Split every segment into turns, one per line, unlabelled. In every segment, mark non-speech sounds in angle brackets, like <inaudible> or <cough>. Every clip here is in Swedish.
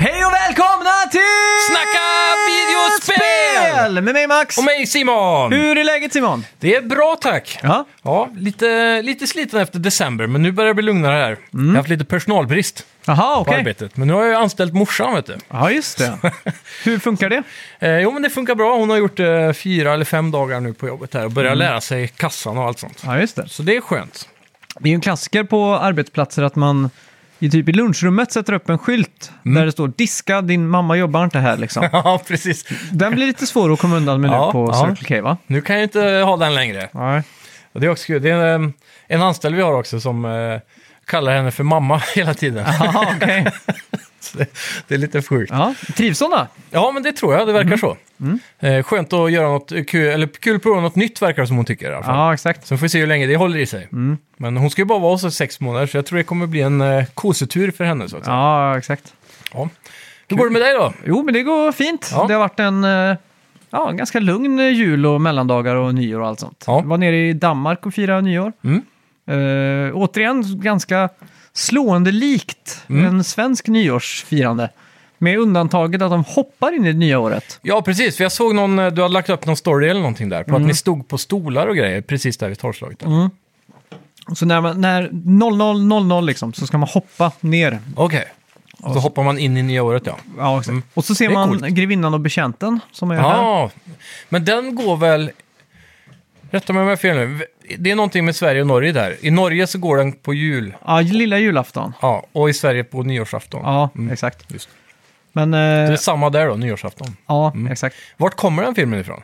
Hej och välkomna till
Snacka videospel!
Spel Med mig Max!
Och mig Simon!
Hur är läget Simon?
Det är bra tack!
Ja.
Ja, lite, lite sliten efter december, men nu börjar det bli lugnare här. Jag har haft lite personalbrist
Jaha,
på
okej.
arbetet, men nu har jag ju anställt morsan vet du.
Ja, just det. Hur funkar det?
Eh, jo, men det funkar bra. Hon har gjort eh, fyra eller fem dagar nu på jobbet här och börjar lära sig kassan och allt sånt.
Ja, just det.
Så det är skönt.
Det är ju en klassiker på arbetsplatser att man i typ i lunchrummet sätter upp en skylt där det står “Diska, din mamma jobbar inte här” liksom.
<laughs> ja, precis.
Den blir lite svår att komma undan med nu
Ja,
på
ja.
Circle K va?
Nu kan jag inte ha den längre.
Nej.
Och det är också kul. Det är en, en anställd vi har också som eh, kallar henne för mamma <laughs> hela tiden.
Jaha, okej.
Så det, det är lite sjukt.
Ja, trivs hon då?
Ja, men det tror jag. Det verkar så. Eh, skönt att göra något kul, eller kul att prova något nytt verkar det som hon tycker i alla fall.
Ja, exakt.
Sen får vi se hur länge det håller i sig. Men hon ska ju bara vara hos oss i sex månader, så jag tror det kommer bli en eh, kosetur för henne. Så att säga.
Ja, exakt.
Ja. Hur går det med dig då?
Jo, men det går fint.
Ja.
Det har varit en eh, ja, en ganska lugn eh, jul och mellandagar och nyår och allt sånt.
Ja.
Jag var nere i Danmark och firade nyår.
Mm.
Eh, återigen ganska slående likt
Mm.
en svensk nyårsfirande. Med undantaget att de hoppar in i det nya året.
Ja, precis. För jag såg någon, eh, du hade lagt upp någon story eller någonting där, på att ni stod på stolar och grejer precis där vid torrslaget.
Mm.
där.
Så när, man, när 0000 liksom, så ska man hoppa ner.
Okej. Och så hoppar man in i nya året, ja.
Ja, exakt. Och så ser
Mm. Det är
man
coolt.
grevinnan och betjänten som är här.
Ja, men den går väl... Rätta mig om jag har fel nu. Det är någonting med Sverige och Norge där. I Norge så går den på jul.
Ja, lilla julafton.
Ja, och i Sverige på nyårsafton.
Ja, exakt.
Mm. Just.
Men, eh,
Det Mm. är samma där då, nyårsafton.
ja, exakt.
Vart kommer den filmen ifrån?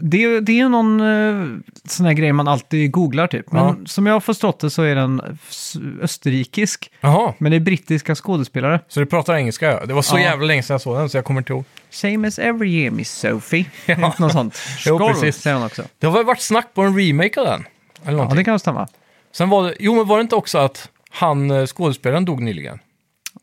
Det, det är någon eh, sån här grej man alltid googlar typ. Men
Ja.
som jag har förstått det så är den s- österrikisk.
Jaha,
Men det är brittiska skådespelare.
så du pratar engelska ja. Det var så
Ja.
jävla länge sedan jag såg den så jag kommer inte ihåg.
Same as every year, Miss
<laughs>
Sophie. Ja. Något sånt.
Jo,
Skål,
precis.
säger hon också.
Det har väl varit snack på en remake av den?
Ja,
Eller någonting.
det kan stämma.
Sen var det, jo men var det inte också att han, eh, skådespelaren dog nyligen?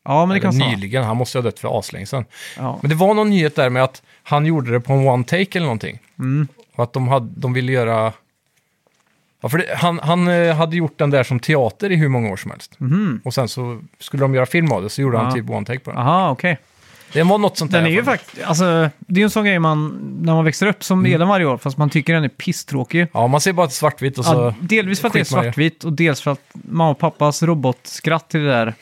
Ja, men det
Eller
kan stämma.
nyligen, han måste ju ha dött för aslänge sedan.
Ja.
Men det var någon nyhet där med att han gjorde det på en one take eller någonting.
Mm.
Och att de, hade, de ville göra... Ja, för det, han, han eh, hade gjort den där som teater i hur många år som helst. Och sen så skulle de göra film av det, så gjorde
Mhm. Ja.
han typ one take på den.
Aha, okej.
Det Mm. var något sånt där.
Den är
i
ju
alla fall.
faktiskt, alltså, det är en sån grej man, när man växer upp, som är den varje år, fast man tycker den är pisstråkig.
Ja, man ser bara ett svartvitt och så...
Ja, delvis för att det är
skiter man i det.
svartvitt och dels för att mamma och pappas robotskratt till det
<laughs>
där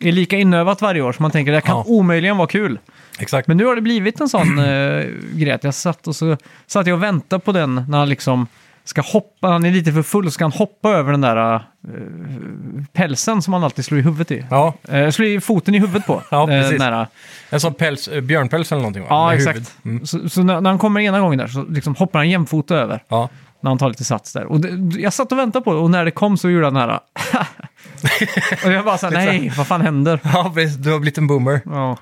är lika inövat varje år, så man tänker det här kan
Ja.
omöjligen vara kul.
Exakt.
Men nu har det blivit en
<clears throat>
sån eh, grej att jag satt och så satt jag och väntade på den när han liksom ska hoppa, han är lite för full, ska han hoppa över den där eh, pälsen som han alltid slår i huvudet i.
Ja,
Eh, slår i foten i huvudet på.
<laughs>
Eh,
Ja, Mm. precis.
nära.
en sån päls, eh, björnpäls eller någonting va?
Ja,
Med huvud.
exakt. Så, så när, när han kommer ena gången där så liksom hoppar han jämfota över. <laughs>
Ja.
När han tar lite sats där. Och det, jag satt och väntade på det och när det kom så gjorde han nära. <laughs> och jag
<laughs>
bara såhär, nej, vad fan händer?
ja, precis. Du har blivit en boomer.
Ja.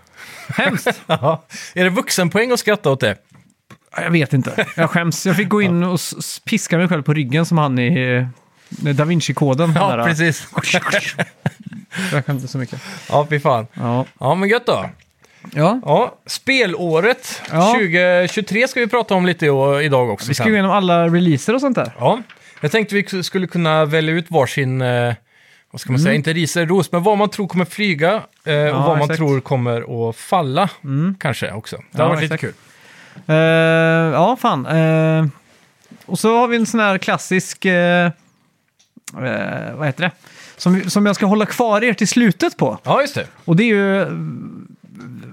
Hemskt!
<laughs> Ja. Är det vuxenpoäng att skratta åt det?
Ja, Jag vet inte. Jag skäms. Jag fick gå in och s- s- piska mig själv på ryggen som han i eh, Da Vinci-koden. Den
Ja,
där- eh.
precis.
Jag skämde så mycket.
ja, fy fan.
Ja.
Ja, men gött då.
ja.
Ja, spelåret
Ja.
2023 ska vi prata om lite i- idag också.
Vi ska
sen.
gå igenom alla releaser och sånt där.
Ja, jag tänkte vi skulle kunna välja ut varsin, eh, vad ska man säga, inte ris eller ros, men vad man tror kommer flyga eh, och vad man
Mm. exakt. Mm.
tror kommer att falla kanske också. Det
Ja,
har varit lite
exakt.
kul.
Eh, ja, fan. Eh, och så har vi en sån här klassisk... eh, eh, vad heter det? Som, som jag ska hålla kvar er till slutet på.
Ja, just det.
Och det är ju... eh,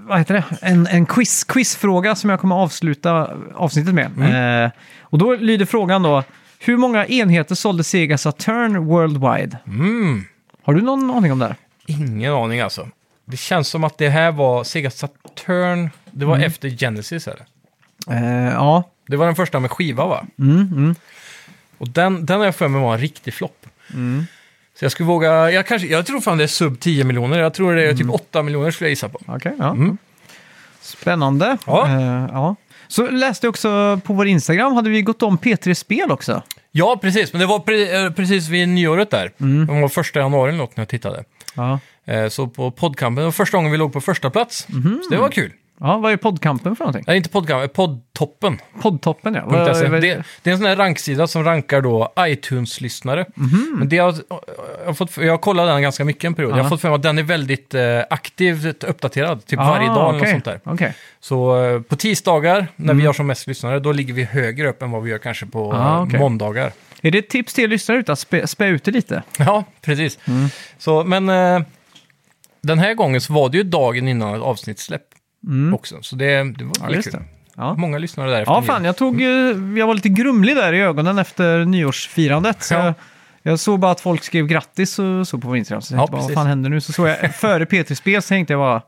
Vad heter det? En, en quiz, quizfråga som jag kommer avsluta avsnittet med.
Mm.
Eh, och då lyder frågan då. Hur många enheter sålde Sega Saturn worldwide?
Mm.
Har du någon aning om det här?
Ingen aning alltså. Det känns som att det här var Sega Saturn, det var efter Genesis eller?
Eh, ja,
Det var den första med skiva va?
Mm, mm.
Och den, den har jag för mig var en riktig flopp. Så jag skulle våga, jag, kanske, jag tror fan det är sub 10 miljoner, jag tror det är typ 8 miljoner skulle jag gissa på.
Okej, ja.
Mm.
Spännande.
Ja.
Eh, ja. Så läste jag också på vår Instagram, hade vi gått om P3 Spel också?
Ja, precis, men det var pre, eh, precis vid nyåret där. Det var första januari eller något när jag tittade.
Ja.
Eh, Så på poddkampen, det var första gången vi låg på första plats. Så det var kul.
ja, vad är poddkampen för någonting?
Nej, inte poddkampen, eh, poddtoppen.
Poddtoppen ja. Vad-
.se.
vad-
E. Det, det är en sån här ranksida som rankar då iTunes-lyssnare. Men det har, jag, har fått, jag har kollat den ganska mycket en period. Jag
Mhm. Ja. Ah,
har fått för mig att den är väldigt eh, aktivt uppdaterad, typ varje dag eller något
okej,
sånt där.
okej.
Så eh, på tisdagar, när vi har som mest lyssnare, då ligger vi högre upp än vad vi gör kanske på
Ah,
eh,
okej.
måndagar. <laughs>
Är det ett tips till er lyssnare ute att spä, spä ut det lite?
Ja, precis.
Mm.
Så, men eh, den här gången så var det ju dagen innan ett avsnitt släpp också. Så det, det var väldigt
just
kul.
det. Mm. Ja.
Många lyssnare där efter
Ja,
nyår. Mm.
fan, jag, tog, eh, jag var lite grumlig där i ögonen efter nyårsfirandet. Så
Ja.
jag, jag såg bara att folk skrev grattis och så på vår Instagram. Så jag
Ja,
tänkte bara, vad
precis.
fan händer nu? Så såg
<laughs>
jag före P3 Spel så tänkte jag bara,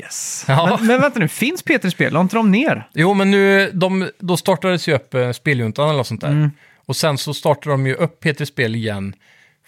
yes.
Ja.
Men, men vänta nu, finns P3 Spel? La inte de ner?
Jo, men nu, de, då startades ju upp eh, Speljuntan eller något sånt där.
Mm.
Och sen så startade de ju upp Peter Spel igen.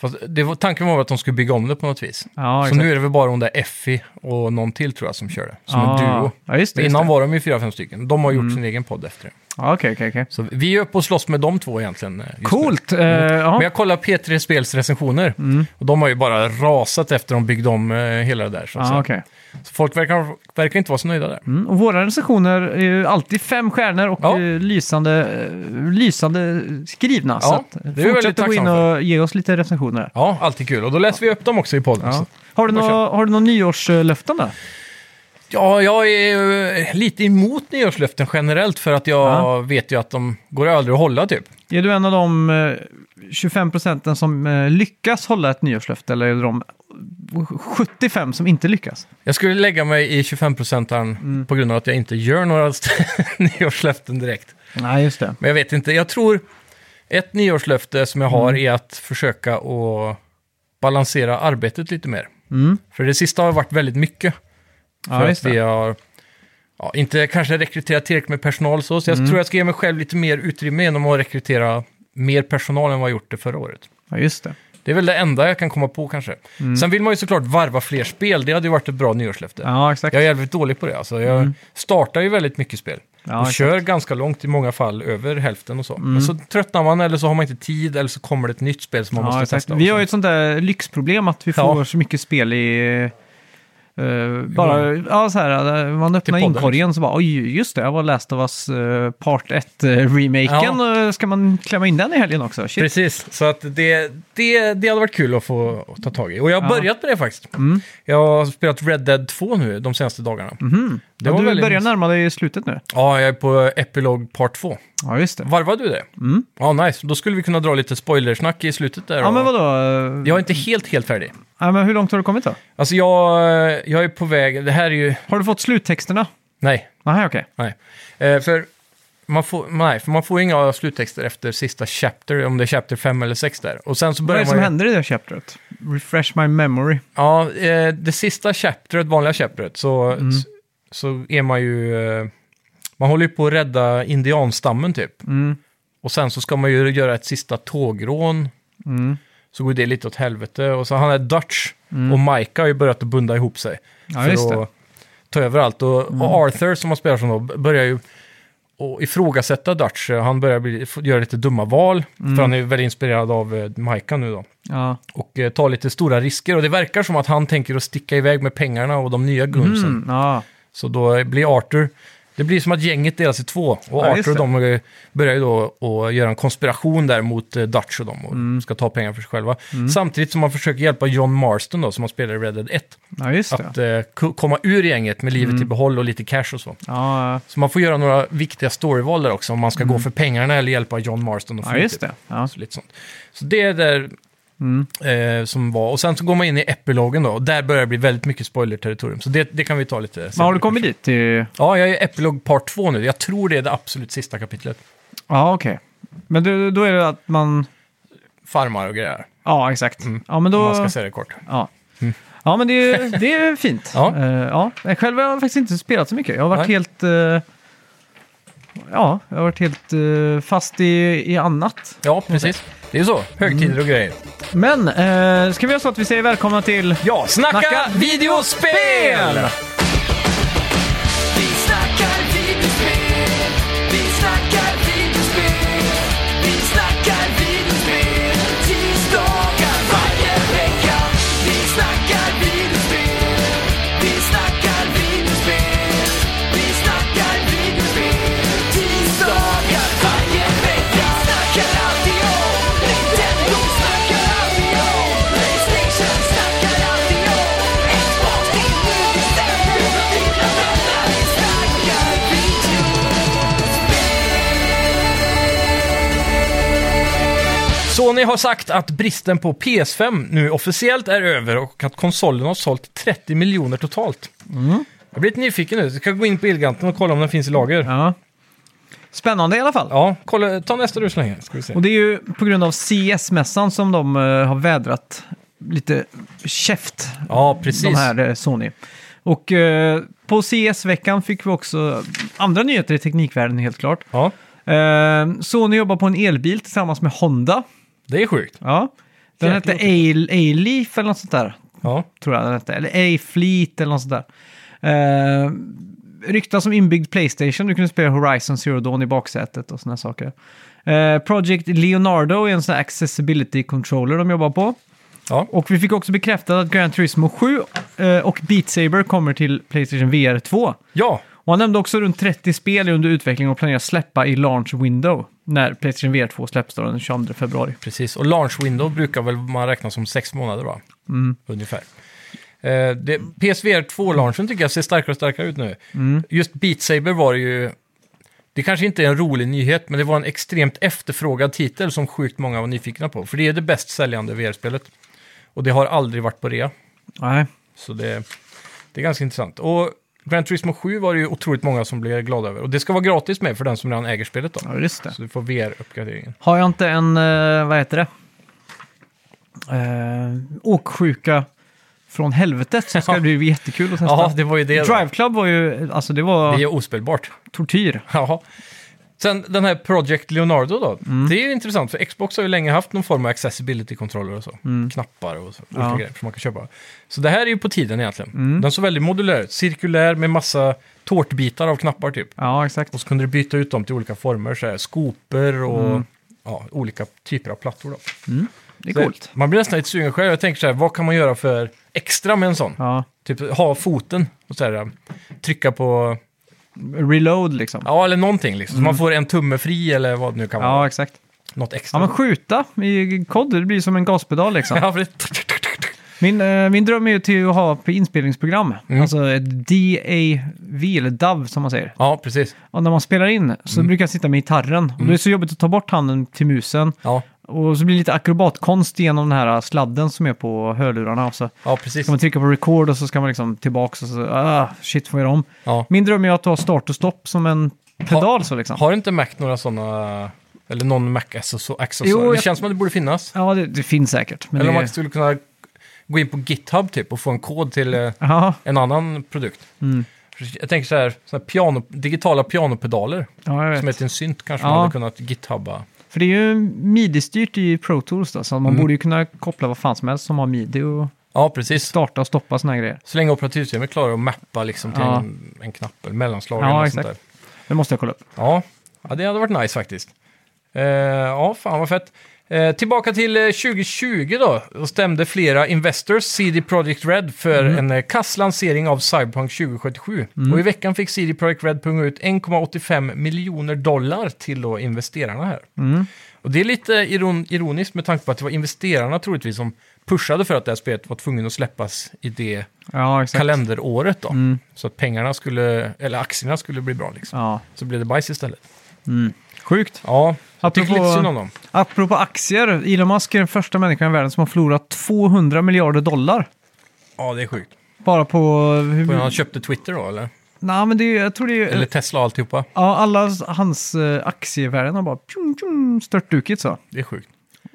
Fast det var, tanken var att de skulle bygga om det på något vis.
Ja,
så nu är det väl bara hon där Effie och någon till tror jag som kör det. Som
Ah,
en duo.
Ja, just det.
Men
just
Innan
det. Mm.
var de ju fyra, fem stycken. De har gjort sin egen podd efter det.
Ja, Okej, okej, okej.
Så vi är uppe och slåss med de två egentligen. eh, just nu.
Coolt! eh, ja.
Mm.
Mm.
Men jag kollar P3 Spels recensioner. Och de har ju bara rasat efter de byggde om eh, hela det där. Så, att
Ja,
säga.
Ah, okej.
så folk verkar, verkar inte vara så nöjda där.
Mm, och våra recensioner är ju alltid fem stjärnor och
Ja.
eh, lysande, eh, lysande skrivna.
Ja,
så att,
det är
eh,
vi väldigt
fortsätt att gå in
tacksamma
och ge oss lite recensioner. där.
Ja, alltid kul. Och då läser vi upp dem också i podden. Så.
Ja. Har, du några, har du några nyårslöften där?
Ja, jag är eh, lite emot nyårslöften generellt för att jag
Ja.
vet ju att de går aldrig att hålla typ.
Är du en av de eh, 25 procenten som eh, lyckas hålla ett nyårslöfte eller är det de 75 som inte lyckas?
Jag skulle lägga mig i 25-procentaren
Mm.
på grund av att jag inte gör några <laughs> nyårslöften direkt.
Nej, just det.
Men jag vet inte, jag tror ett nyårslöfte som jag
Mm.
har är att försöka att balansera arbetet lite mer.
Mm.
För det sista har varit väldigt mycket. För
Ja, just
att vi
det.
har ja, inte kanske rekryterat tillräckligt med personal så, så jag
Mm.
tror jag ska ge mig själv lite mer utrymme genom att rekrytera mer personal än vad jag gjort det förra året.
Ja, just det.
Det är väl det enda jag kan komma på kanske. Sen vill man ju såklart varva fler spel, det hade ju varit ett bra nyårslöfte.
Mm. Ja, exakt.
Jag är jävligt dålig på det, alltså. jag startar ju väldigt mycket spel.
Ja,
och
exakt. Mm.
kör ganska långt, i många fall över hälften och så. Men så tröttnar man eller så har man inte tid eller så kommer det ett nytt spel som man
Ja,
måste
exakt.
testa. och
Vi
så.
har ju ett sånt där lyxproblem att vi
Ja.
får så mycket spel i... eh, bara, ja, så här, eh, man öppnar
podden,
inkorgen så bara, oj, just det, jag var Last of Us eh, Part 1-remaken. Ska man klämma in den i helgen också? Shit.
Precis, så att det, det, det hade varit kul att få att ta tag i. Och jag har
Ja. Mm.
börjat med det faktiskt. Jag har spelat Red Dead 2 nu de senaste dagarna.
Mhm. Ja, du
väldigt-
börjar närma dig slutet nu.
Ja, jag är på Epilog Part 2.
Ja, just det.
Varvade du det? Mm. Ja, nice. Då skulle vi kunna dra lite spoilersnack i slutet där.
Ja,
och-
men vadå?
Jag är inte helt, helt färdig.
Ja, men hur långt har du kommit då?
Alltså jag, jag är på väg, det här är ju,
Har du fått sluttexterna?
nej,
Nej, okej.
nej. Eh, för, man får, nej, för man får inga sluttexter efter sista chapter, om det är chapter 5 eller 6 där. Och sen så
Vad är
börjar
det
man
som
ju-
händer i det chapteret? Refresh my memory.
Ja, eh, det sista chapteret, vanliga chapteret, så,
Mm.
så, så är man ju, eh, man håller ju på att rädda indianstammen typ.
Mm.
Och sen så ska man ju göra ett sista tågrån.
Mm.
Så går det lite åt helvete. Och så han är Dutch och Mike har ju börjat att bunda ihop sig.
Ja, just det. Mm.
att ta över allt. Och, och Arthur som man spelar som då börjar ju och ifrågasätta Dutch. Han börjar bli, f- göra lite dumma val.
Mm.
För han är ju väldigt inspirerad av eh, Micah nu då
Ja,
och eh, ta lite stora risker. Och det verkar som att han tänker att sticka iväg med pengarna och de nya gunsen.
mm, ja.
Så då blir Arthur... Det blir som att gänget delas i två. Och
Ja, just
Arthur och de eh, börjar ju då att göra en konspiration där mot eh, Dutch och dem och
Mm.
ska ta pengar för sig själva. Samtidigt som man försöker hjälpa John Marston då, som man spelar i Red Dead 1,
ja just det. Mm.
att eh, ko- komma ur gänget med livet i behåll och lite cash och så.
Ja,
Så man får göra några viktiga storyval där också, om man ska gå för pengarna eller hjälpa John Marston att
Mm. ja
ut
just det. Ja. Mm.
så lite sånt. Så det är där eh, som var. Och sen så går man in i epilogen då. Och där börjar det bli väldigt mycket spoiler-territorium. Så det, det kan vi ta lite
Men har du
senare.
kommit dit? Till...
Ja, jag är i epilog part 2 nu. Jag tror det är det absolut sista kapitlet.
Ja, okej. Men du, då är det att man...
Farmar och grejer.
Ja, exakt. Ja, men
Mm. Om
då...
man ska säga det kort.
Ja. ja, men det
<laughs>
är, det är fint.
Ja.
Eh, ja. Jag Själv har jag faktiskt inte spelat så mycket. Jag har varit
Nej.
helt... eh, ja, jag har varit helt eh, fast i, i annat.
Ja, precis. Det är ju så. Högtider och grejer.
Men eh, ska vi göra så att vi säger välkomna till...
Ja, snacka,
Snacka
videospel!
Vi snackar videospel, vi snackar videospel, vi snackar videospel, tisdagar varje vecka. Vi snackar videospel, vi snackar videospel, vi snackar videospel, tisdagar varje vecka. Snackar alltid om Nintendo, snackar alltid om Playstation, snackar alltid om Xbox, din nu bestämmer du dina vänner. Vi snackar videospel.
Sony har sagt att bristen på PS5 nu officiellt är över och att konsolen har sålt 30 miljoner totalt.
Mm.
Jag blir lite nyfiken nu. Jag ska gå in på Elganten och kolla om den finns i lager. Ja,
Ja. Spännande i alla fall.
kolla, ta nästa du så länge. Ska vi se.
Och det är ju på grund av CS-mässan som de eh, har vädrat lite käft,
Ja, precis.
de här eh, Sony. Och eh, på CS-veckan fick vi också andra nyheter i teknikvärlden helt klart.
Ja,
Eh, Sony jobbar på en elbil tillsammans med Honda.
det är sjukt.
Ja. Den
Jäklar.
hette A- A-Leaf eller något sånt där,
Ja,
tror jag den hette. Eller A-Fleet eller något sånt där. Eh, ryktas som inbyggd Playstation, du kunde spela Horizon Zero Dawn i baksätet och såna här saker. Eh, Project Leonardo är en sån här accessibility controller de jobbar på.
ja.
Och vi fick också bekräftat att Gran Turismo 7 eh, och Beat Saber kommer till Playstation VR 2.
ja.
Och han nämnde också runt 30 spel är under utveckling och planerar släppa i launch window när Playstation VR 2 släpps då den 22 februari.
precis. Och launch window brukar väl man räkna som sex månader, va?
Mm.
Ungefär. Eh, det, PSVR 2-launchen tycker jag ser starkare och starkare ut nu.
Mm.
Just Beat Saber var ju... Det kanske inte är en rolig nyhet, men det var en extremt efterfrågad titel som sjukt många var nyfikna på. För det är det bäst säljande VR-spelet. Och det har aldrig varit på rea.
Nej.
Så det, det är ganska intressant. Och Gran Turismo 7 var det ju otroligt många som blev glada över. Och det ska vara gratis med för den som redan äger spelet då.
Ja, just det.
Så du får VR-uppgraderingen.
Har jag inte en, eh, vad heter det? Eh, åksjuka från helvetet
<laughs>
så ska det bli jättekul att testa.
Ja, det var ju det. då.
Drive Club var ju, alltså det var
Det är ospelbart.
tortyr.
<laughs> Jaha. Sen den här Project Leonardo då.
Mm.
Det är ju intressant för Xbox har ju länge haft någon form av accessibility-kontroller och så. Knappar och så, olika
Mm. Ja. Mm.
grejer som man kan köpa. Så det här är ju på tiden egentligen. Den såg väldigt modulär ut. Cirkulär med massa tårtbitar av knappar typ.
Ja, exakt.
Och så kunde du byta ut dem till olika former, så här skopor och ja, olika typer av plattor. Då.
Mm. Det är
Så
coolt.
Man blir nästan lite sugen själv. Jag tänker så här, vad kan man göra för extra med en sån?
Ja.
Typ ha foten och så här, trycka på
Reload liksom. Ja,
Ja, eller någonting liksom. Så man får en tumme fri eller vad det nu kan vara.
exakt.
Något
Ja,
extra.
men skjuta i kod, det blir som en gaspedal liksom.
Ja, för det...
Min, eh, min dröm är ju till att ha på inspelningsprogram,
Mm.
alltså ett DAV eller DAV som man säger.
<laughs> ja precis.
Och när man spelar in
Mm.
så brukar jag sitta med gitarren och det är så jobbigt att ta bort handen till musen.
Ja,
Och så blir det lite akrobatkonst genom den här sladden som är på hörlurarna. Och så
ja precis.
ska man trycka på record och så ska man liksom tillbaka och så, ah, shit får jag göra om.
Ja.
Min dröm är att ha start och stopp som en pedal så liksom.
Har inte Mac några sådana... Eller någon Mac accessor-
Jo,
accessoar? Det
jag-
känns som att det borde finnas.
Ja, det, det finns säkert. Men
Eller om
det,
man skulle kunna gå in på GitHub typ och få en kod till eh,
ja, mm.
en annan produkt. Jag tänker så här, så här piano, digitala pianopedaler
ja, jag
som
vet.
heter en synt kanske
Ja.
man hade kunnat GitHubba.
För det är ju midi-styrt i Pro Tools då, så man
Mm.
borde ju kunna koppla vad fan som helst som har midi och
Ja, precis.
starta och stoppa såna här grejer.
Så länge operativsystemet klarar att mappa liksom till
Ja.
en, en knapp eller mellanslag
Ja,
eller något sånt
exakt.
där.
Det måste jag kolla upp.
Ja, ja det hade varit nice faktiskt. Eh, ja, fan vad fett. Eh, tillbaka till eh, 2020 då. Då stämde flera investors CD Projekt Red för en eh, kass lansering av Cyberpunk 2077. Och i veckan fick CD Projekt Red punga ut 1,85 miljoner dollar till då investerarna här.
Mm.
Och det är lite iron ironiskt med tanke på att det var investerarna troligtvis som pushade för att det här spelet var tvungen att släppas i det
Ja, exakt.
kalenderåret då. Så att pengarna skulle, eller aktierna skulle bli bra liksom.
Ja.
Så blev det bajs istället.
Sjukt.
Ja, jag
Apropå-
tycker lite synd om dem.
Apropå aktier, Elon Musk är den första människan i världen som har förlorat 200 miljarder dollar.
Ja, det är sjukt.
Bara på...
Men
Hur,
han köpte Twitter då, eller?
nej, men det är, jag tror det är...
Eller Tesla och alltihopa.
Ja, alla hans eh, aktievärden har bara pjum, pjum, störtdukit så.
Det är sjukt.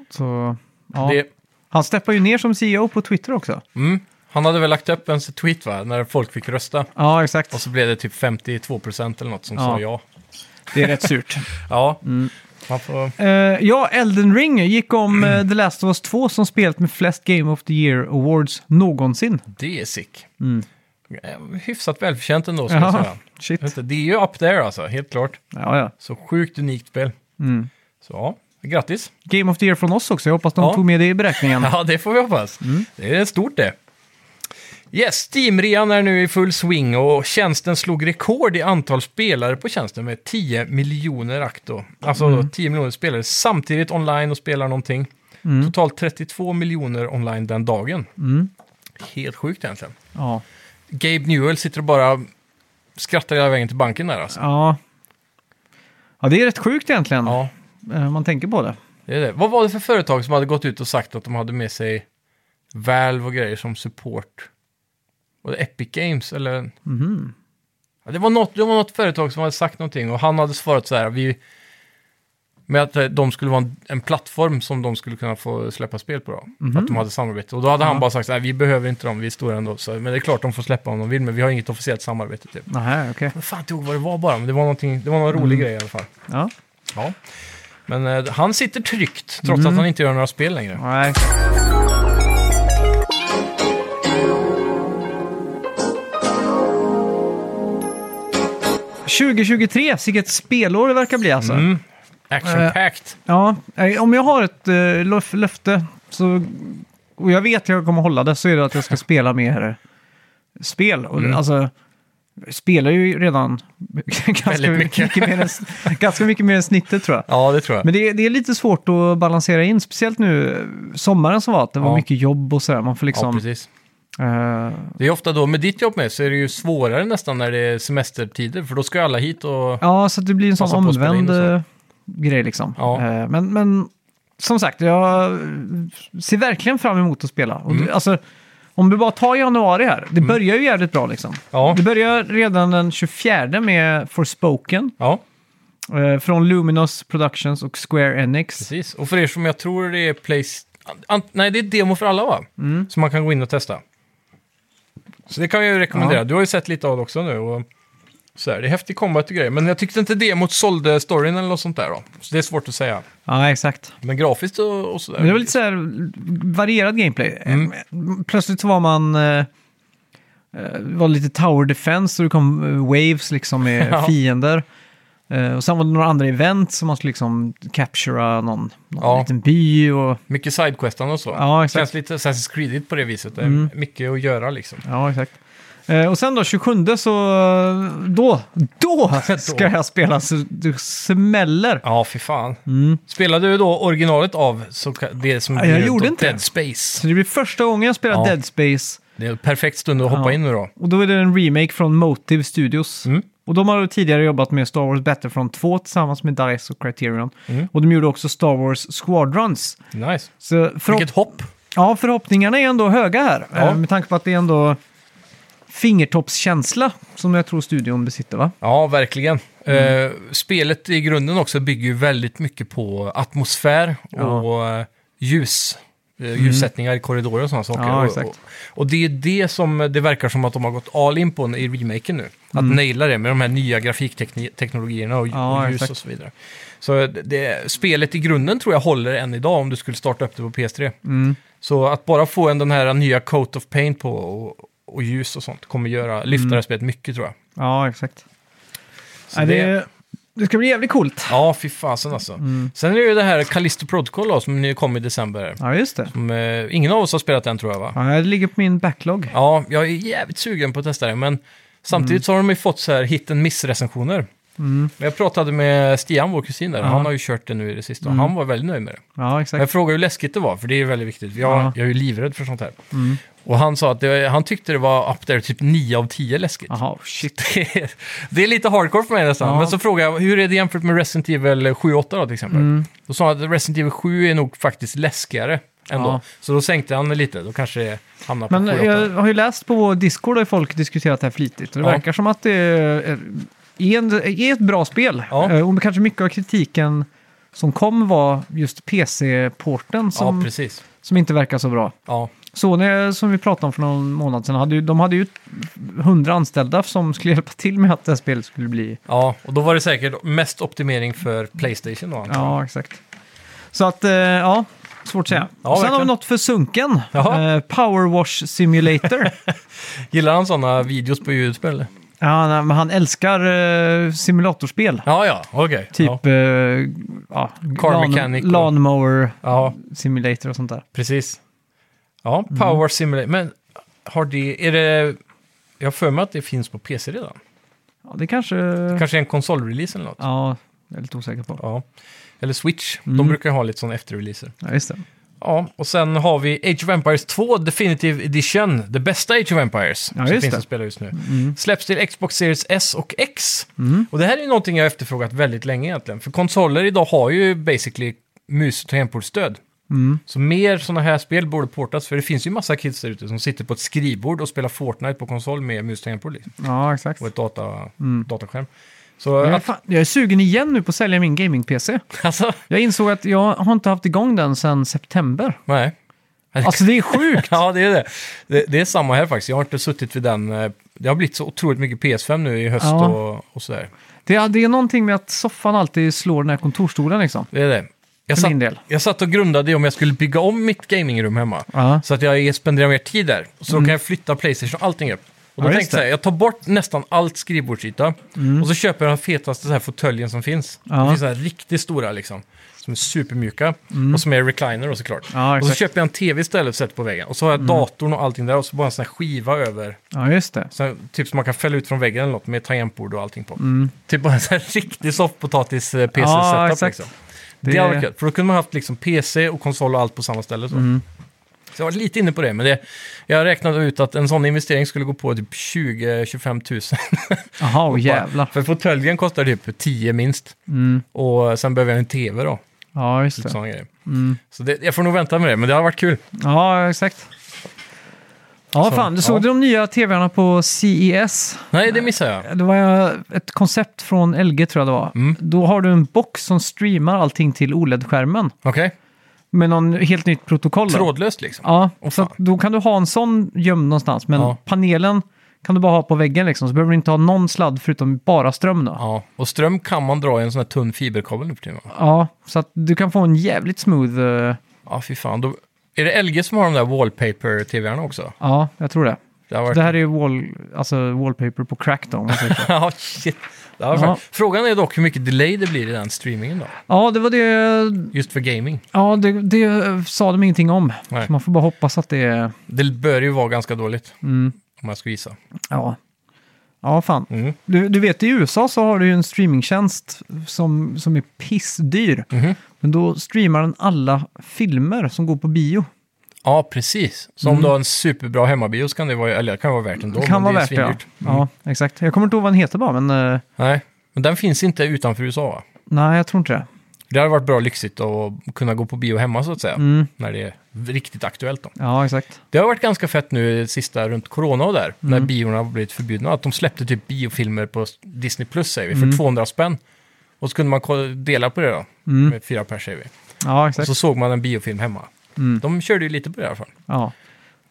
så ja.
Det,
Han steppar ju ner som CEO på Twitter också.
mm. Han hade väl lagt upp en tweet, va? När folk fick rösta.
Ja,
Och
exakt.
så blev det typ 52% eller något som
Ja.
sa ja.
Det är rätt surt.
Ja, man får...
Eh, ja, Elden Ring gick om eh, The Last of Us 2 som spelet med flest Game of the Year Awards någonsin.
Det är sick. Eh, Hyfsat välförtjänt ändå, ska jag
Jaha,
säga.
shit.
Jag vet inte, Det är ju up there alltså, helt klart.
Ja, ja.
Så sjukt unikt spel. Mm. Så ja, grattis.
Game of the Year från oss också. Jag hoppas de
Ja.
tog med det i beräkningen.
Ja, det får vi hoppas. Det är stort det. Yes, Steam-rean är nu i full swing och tjänsten slog rekord i antal spelare på tjänsten med 10 miljoner akto. Alltså 10 miljoner spelare samtidigt online och spelar någonting. Totalt 32 miljoner online den dagen. Helt sjukt egentligen.
Ja.
Gabe Newell sitter och bara skrattar hela vägen till banken där alltså.
Ja. ja, det är rätt sjukt egentligen.
Ja,
eh, om Man tänker på det.
det är det. Vad var det för företag som hade gått ut och sagt att de hade med sig Valve och grejer som support? Var det Epic Games eller? Ja, det, var något, det var något företag som hade sagt någonting och han hade svarat så här. Vi, med att eh, de skulle vara en, en plattform som de skulle kunna få släppa spel på. Då. Att de hade samarbete. Och då hade han bara sagt så här, vi behöver inte dem, vi är stora ändå. Så, men det är klart de får släppa om de vill, men vi har inget officiellt samarbete. Typ.
Nähä, okej.
Jag fan inte ihåg vad det var bara, men det var, någonting- det var någon rolig grej i alla fall.
Ja.
Ja. Men eh, han sitter tryggt, trots
Mm.
att han inte gör några spel längre.
Nej. ...2023, vilket spelår det verkar bli alltså.
Mm. Action-packed.
Ja, eh, om jag har ett eh, löf- löfte så, och jag vet att jag kommer hålla det så är det att jag ska spela mer spel. Och,
Mm.
Alltså, jag spelar ju redan <laughs> ganska
Väldigt
mycket.
mycket.
mer än, ganska mycket mer än snittet tror jag.
Ja, det tror jag.
Men det, är- det är lite svårt att balansera in, speciellt nu eh, sommaren som var, att det var
Ja.
mycket jobb och sådär. Man får
ja,
liksom...
precis.
eh,
Det är ofta då, med ditt jobb med, så är det ju svårare nästan när det är semestertider, för då ska ju alla hit och...
Ja, så det blir en sån
Passa på att spela
omvänd
in och så.
eh, grej liksom.
Ja.
Eh, Men, men som sagt, jag ser verkligen fram emot att spela. Och
Mm.
det, alltså, om vi bara tar januari här, det börjar ju jävligt bra liksom.
Ja.
Det börjar redan den 24 med Forspoken
ja,
eh, från Luminous Productions och Square Enix.
precis. Och för er som jag tror det är Place... Ant- Nej, det är demo för alla va?
Mm.
Som man kan gå in och testa. Så det kan jag ju rekommendera.
Ja.
Du har ju sett lite av det också nu. Och... Så här, det är häftig combat och grejer, men jag tyckte inte demot sålde storyn eller något sånt där då. Så det är svårt att säga.
Ja, exakt.
Men grafiskt och, och sådär.
Men det var lite så här varierad gameplay.
Mm.
Eh, Plötsligt så var man... eh, eh, Det var lite tower defense och det kom eh, waves liksom med
<laughs> Ja.
fiender. Eh, Och sen var det några andra event som man skulle liksom captura någon, någon
Ja.
liten by och...
Mycket sidequestande och så.
Ja, exakt. Mm.
Känns lite Assassin's Creed på det viset. Det är Mycket att göra liksom.
Ja, exakt. Eh, Och sen då 27 så eh, då,
<laughs>
då ska jag spela så du smäller.
Ja, fy fan. Spelade du då originalet av så, ka- det som
Nej, Mm. jag
blir
gjorde
då
inte det.
Dead Space?
Så det blir första gången jag spelar
Ja.
Dead Space.
Det är en perfekt stund att hoppa
Ja.
in nu då.
Och då är det en remake från Motive Studios.
Mm.
Och de har ju tidigare jobbat med Star Wars Battlefront 2 tillsammans med DICE och Criterion.
Mm.
Och de gjorde också Star Wars Squadrons.
Nice.
Så förhopp-
Vilket hopp.
ja, förhoppningarna är ändå höga här.
Ja.
Eh, Med tanke på att det är ändå fingertoppskänsla som jag tror studion besitter va?
Ja, verkligen.
Mm.
Eh, spelet i grunden också bygger ju väldigt mycket på atmosfär och eh, ljus. eh, Ljussättningar i korridorer och sådana saker.
Mm. Ja,
Och-
exakt.
Och, och det är det som det verkar som att de har gått all in på i remaken nu. Att naila det med de här nya grafikteknologierna och,
Mm. Ja,
och ljus
exakt.
och så vidare. Så det- det, spelet i grunden tror jag håller än idag om du skulle starta upp det på PS3.
Mm.
Så att bara få en, den här nya coat of paint på och, och ljus och sånt kommer göra,
Mm.
lyfta det här spelet mycket tror jag.
Ja, exakt.
Så
Ja, det, det ska bli jävligt coolt.
Ja, fy fasen alltså. Sen är det ju det här Callisto Protocol då, som nu kom i december.
Ja, just det.
Som, eh, ingen av oss har spelat den tror jag va?
Ja, det ligger på min backlog.
Ja, jag är jävligt sugen på att testa det, men samtidigt så har de ju fått så här hit and miss-recensioner.
Mm.
Men Jag pratade med Stian, vår kusin där, och han har ju kört det nu i det sista, och han var väldigt nöjd med det.
Ja, exakt.
Jag frågade hur läskigt det var, för det är ju väldigt viktigt. Jag,
Ja.
jag är ju livrädd för sånt här. Och han sa att det, han tyckte det var up there typ 9 av 10 läskigt.
Jaha, shit.
Det är- <laughs> det är lite hardcore för mig nästan.
Ja.
Men så frågar jag, hur är det jämfört med Resident Evil 7-8 då till exempel?
Mm.
Då sa han att Resident Evil 7 är nog faktiskt läskigare ändå.
Ja.
Så då sänkte han det lite, då kanske det hamnar på
Men eh,
7-8.
jag har ju läst på vår Discord har folk diskuterat det här flitigt. Och det
Ja.
verkar som att det är, är, en, är ett bra spel.
Ja.
Eh, Och kanske mycket av kritiken som kom var just PC-porten
Ja,
som,
precis.
som inte verkar så bra.
Ja.
Sony som vi pratade om för någon månad sedan, hade ju, de hade ju 100 anställda som skulle hjälpa till med att det här spelet skulle bli...
Ja, och då var det säkert mest optimering för Playstation då. antar jag.
Ja, exakt. Så att, eh, ja, svårt att säga.
Mm. Ja,
Sen har vi
verkligen.
något för sunken.
Jaha.
Eh, Power Wash
<laughs>
Simulator.
Gillar han sådana videos på YouTube eller?
ja, nej, men han älskar eh, simulatorspel.
Ja, ja, okej. Ja.
Typ eh, ja,
Car
lawn-
mechanic och-
Lawnmower
ja,
Simulator och sånt där.
precis. Ja,
Mm.
Power Simulator. Men har det, är det... Jag har för mig att det finns på PC redan.
Mm. Ja, det kanske...
Kanske en konsolrelease eller något. Ja.
Ja, jag är lite osäker på.
Eller Switch.
Mm.
De brukar ju ha lite sådana efterreleaser.
Ja, just det.
Ja, och sen har vi Age of Empires 2 Definitive Edition. Det bästa Age of Empires
Ja,
som
just
finns
det.
att spela just nu.
Mm.
Släpps till Xbox Series S och X.
Mm.
Och det här är ju någonting jag har efterfrågat väldigt länge egentligen. För konsoler idag har ju basically mus och tangentbordsstöd.
Mm.
Så mer sådana här spel borde portas, för det finns ju massa kids där ute som sitter på ett skrivbord och spelar Fortnite på konsol med mus och tangentbord liksom,
Ja, exakt.
och ett data,
Mm.
dataskärm. Så
Jag är,
att,
fan, jag är sugen igen nu på att sälja min gaming-PC.
<laughs> alltså,
Jag insåg att jag har inte haft igång den sedan september.
nej.
Alltså det är sjukt!
<laughs> Ja, det är det. det. Det är samma här faktiskt. Jag har inte suttit vid den. eh, Det har blivit så otroligt mycket PS5 nu i höst
Ja.
och, och sådär.
Det är, det är någonting med att soffan alltid slår den här kontorsstolen liksom.
Det är det. Jag
För
satt,
min del.
jag satt och grundade i om jag skulle bygga om mitt gamingrum hemma.
Ja. Mm.
Så att jag spenderar mer tid där. Så då kan jag flytta Playstation och allting upp. Och då
Ja, just Mm.
tänkte jag så här, jag tar bort nästan allt skrivbordsyta. Och så köper jag den fetaste så här fåtöljen som finns.
Ja.
Det finns så här riktigt stora liksom. Som är supermjuka. Och som är recliner och såklart.
Mm. Ja,
och så
exakt. Mm.
köper jag en tv istället och sätter på väggen. Och så har jag datorn och allting där. Och så bara en sån här skiva över.
Ja, just det.
Så, typ som man kan fälla ut från väggen eller något med tangentbord och allting på. Typ bara en sån här riktig eh, soffpotatis-PC-setup
Mm. Ja, exakt.
liksom.
Det-
Det, hade varit kul, för då kunde man haft liksom PC och konsol och allt på samma ställe. Så.
Mm.
så jag var lite inne på det, men det, jag räknade ut att en sån investering skulle gå på typ 20-25 tusen. <laughs>
Jaha, och jävlar.
för fåtöljen kostar typ 10 minst.
Mm.
Och sen behöver jag en TV då.
Ja, just
Typ
det.
sån grej.
Mm.
Så det, jag får nog vänta med det, men det har varit kul.
Ja, exakt. Ja,
Så,
fan. Du
ja.
såg du de nya tvarna på CES?
Nej, det missar jag.
Det var ett koncept från LG tror jag det var.
Mm.
Då har du en box som streamar allting till OLED-skärmen
Okej,
med någon helt nytt protokoll. då.
trådlöst liksom.
Ja,
Åh,
så
fan.
att då kan du ha en sån gömd någonstans, men
Ja.
panelen kan du bara ha på väggen liksom, så behöver du inte ha någon sladd förutom bara ström då. Ja,
Ja, och ström kan man dra i en sån här tunn fiberkabel nu för tiden. va?
så att du kan få en jävligt smooth... eh,
Ja, fy fan. Då, är det LG som har de där wallpaper-tvarna också?
ja, jag tror det.
Det har varit...
Det här är ju wall, alltså wallpaper på crack då. om man säger så.
<laughs> ja, shit. Det har varit...
Ja.
Frågan är dock hur mycket delay det blir i den streamingen då.
ja, det var det...
Just för gaming.
Ja, det, det sa de ingenting om.
Nej.
Så man får bara hoppas att det är...
Det bör ju vara ganska dåligt,
Mm,
om jag ska gissa.
ja. Ja, fan.
Mm.
Du, du vet, i USA så har du ju en streamingtjänst som, som är pissdyr.
Mhm.
Men då streamar den alla filmer som går på bio.
Ja, precis. Så om du har en superbra hemmabio så kan det vara, eller det kan vara värt ändå.
Mm. Det kan
men
vara värt
det.
det,
är
ja.
svindyrt. Mm.
ja. Exakt. Jag kommer inte ihåg vad den heter bara, men eh,
Nej, men den finns inte utanför USA va?
nej, jag tror inte det.
Det hade varit bra lyxigt att kunna gå på bio hemma så att säga.
Mm.
När det är riktigt aktuellt då.
Ja, exakt.
Det har varit ganska fett nu sista runt corona och där, när biorna har blivit förbjudna. Att de släppte typ biofilmer på Disney Plus, säger vi, för 200 spänn. Och så kunde man ko- dela på det då, med fyra pers, säger vi.
Mm. Ja,
Och
exakt.
så såg man en biofilm hemma. De körde ju lite på det i alla fall.
Ja.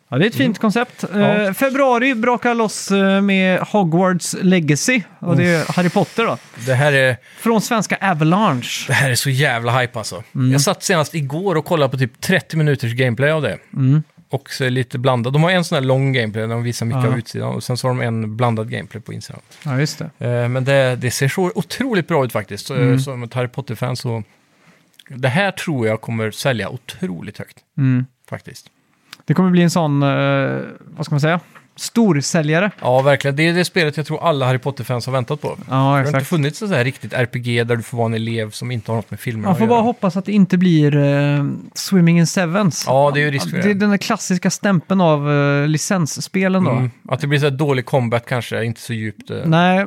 ja, det är ett fint
Mm.
koncept. Eh, februari brakar loss eh, med Hogwarts Legacy. Och det är Harry Potter då.
Det här är,
Från svenska Avalanche.
det här är så jävla hype alltså. Jag satt senast igår och kollade på typ 30 minuters gameplay av det.
Mm.
Och så är det lite blandat. De har en sån här lång gameplay där de visar mycket
Ja.
av utsidan. Och sen så har de en blandad gameplay på insidan.
Ja, just det.
Eh, Men det, det ser så otroligt bra ut faktiskt. Så,
Mm.
Som ett Harry Potter-fan så... Det här tror jag kommer sälja otroligt högt.
Mm.
Faktiskt.
Det kommer bli en sån, eh, vad ska man säga, storsäljare.
Ja, verkligen. Det är det spelet jag tror alla Harry Potter-fans har väntat på.
Ja,
Det har inte
exakt.
funnits ett så här riktigt RPG där du får vara en elev som inte har något med filmerna
Man får
att
bara
göra.
hoppas att det inte blir eh, Swimming in Sevens.
Ja, det är ju risk för
det är
det.
den där klassiska stämpeln av eh, licensspelen då.
Mm. Att det blir så här dålig combat kanske, inte så djupt. eh.
Nej,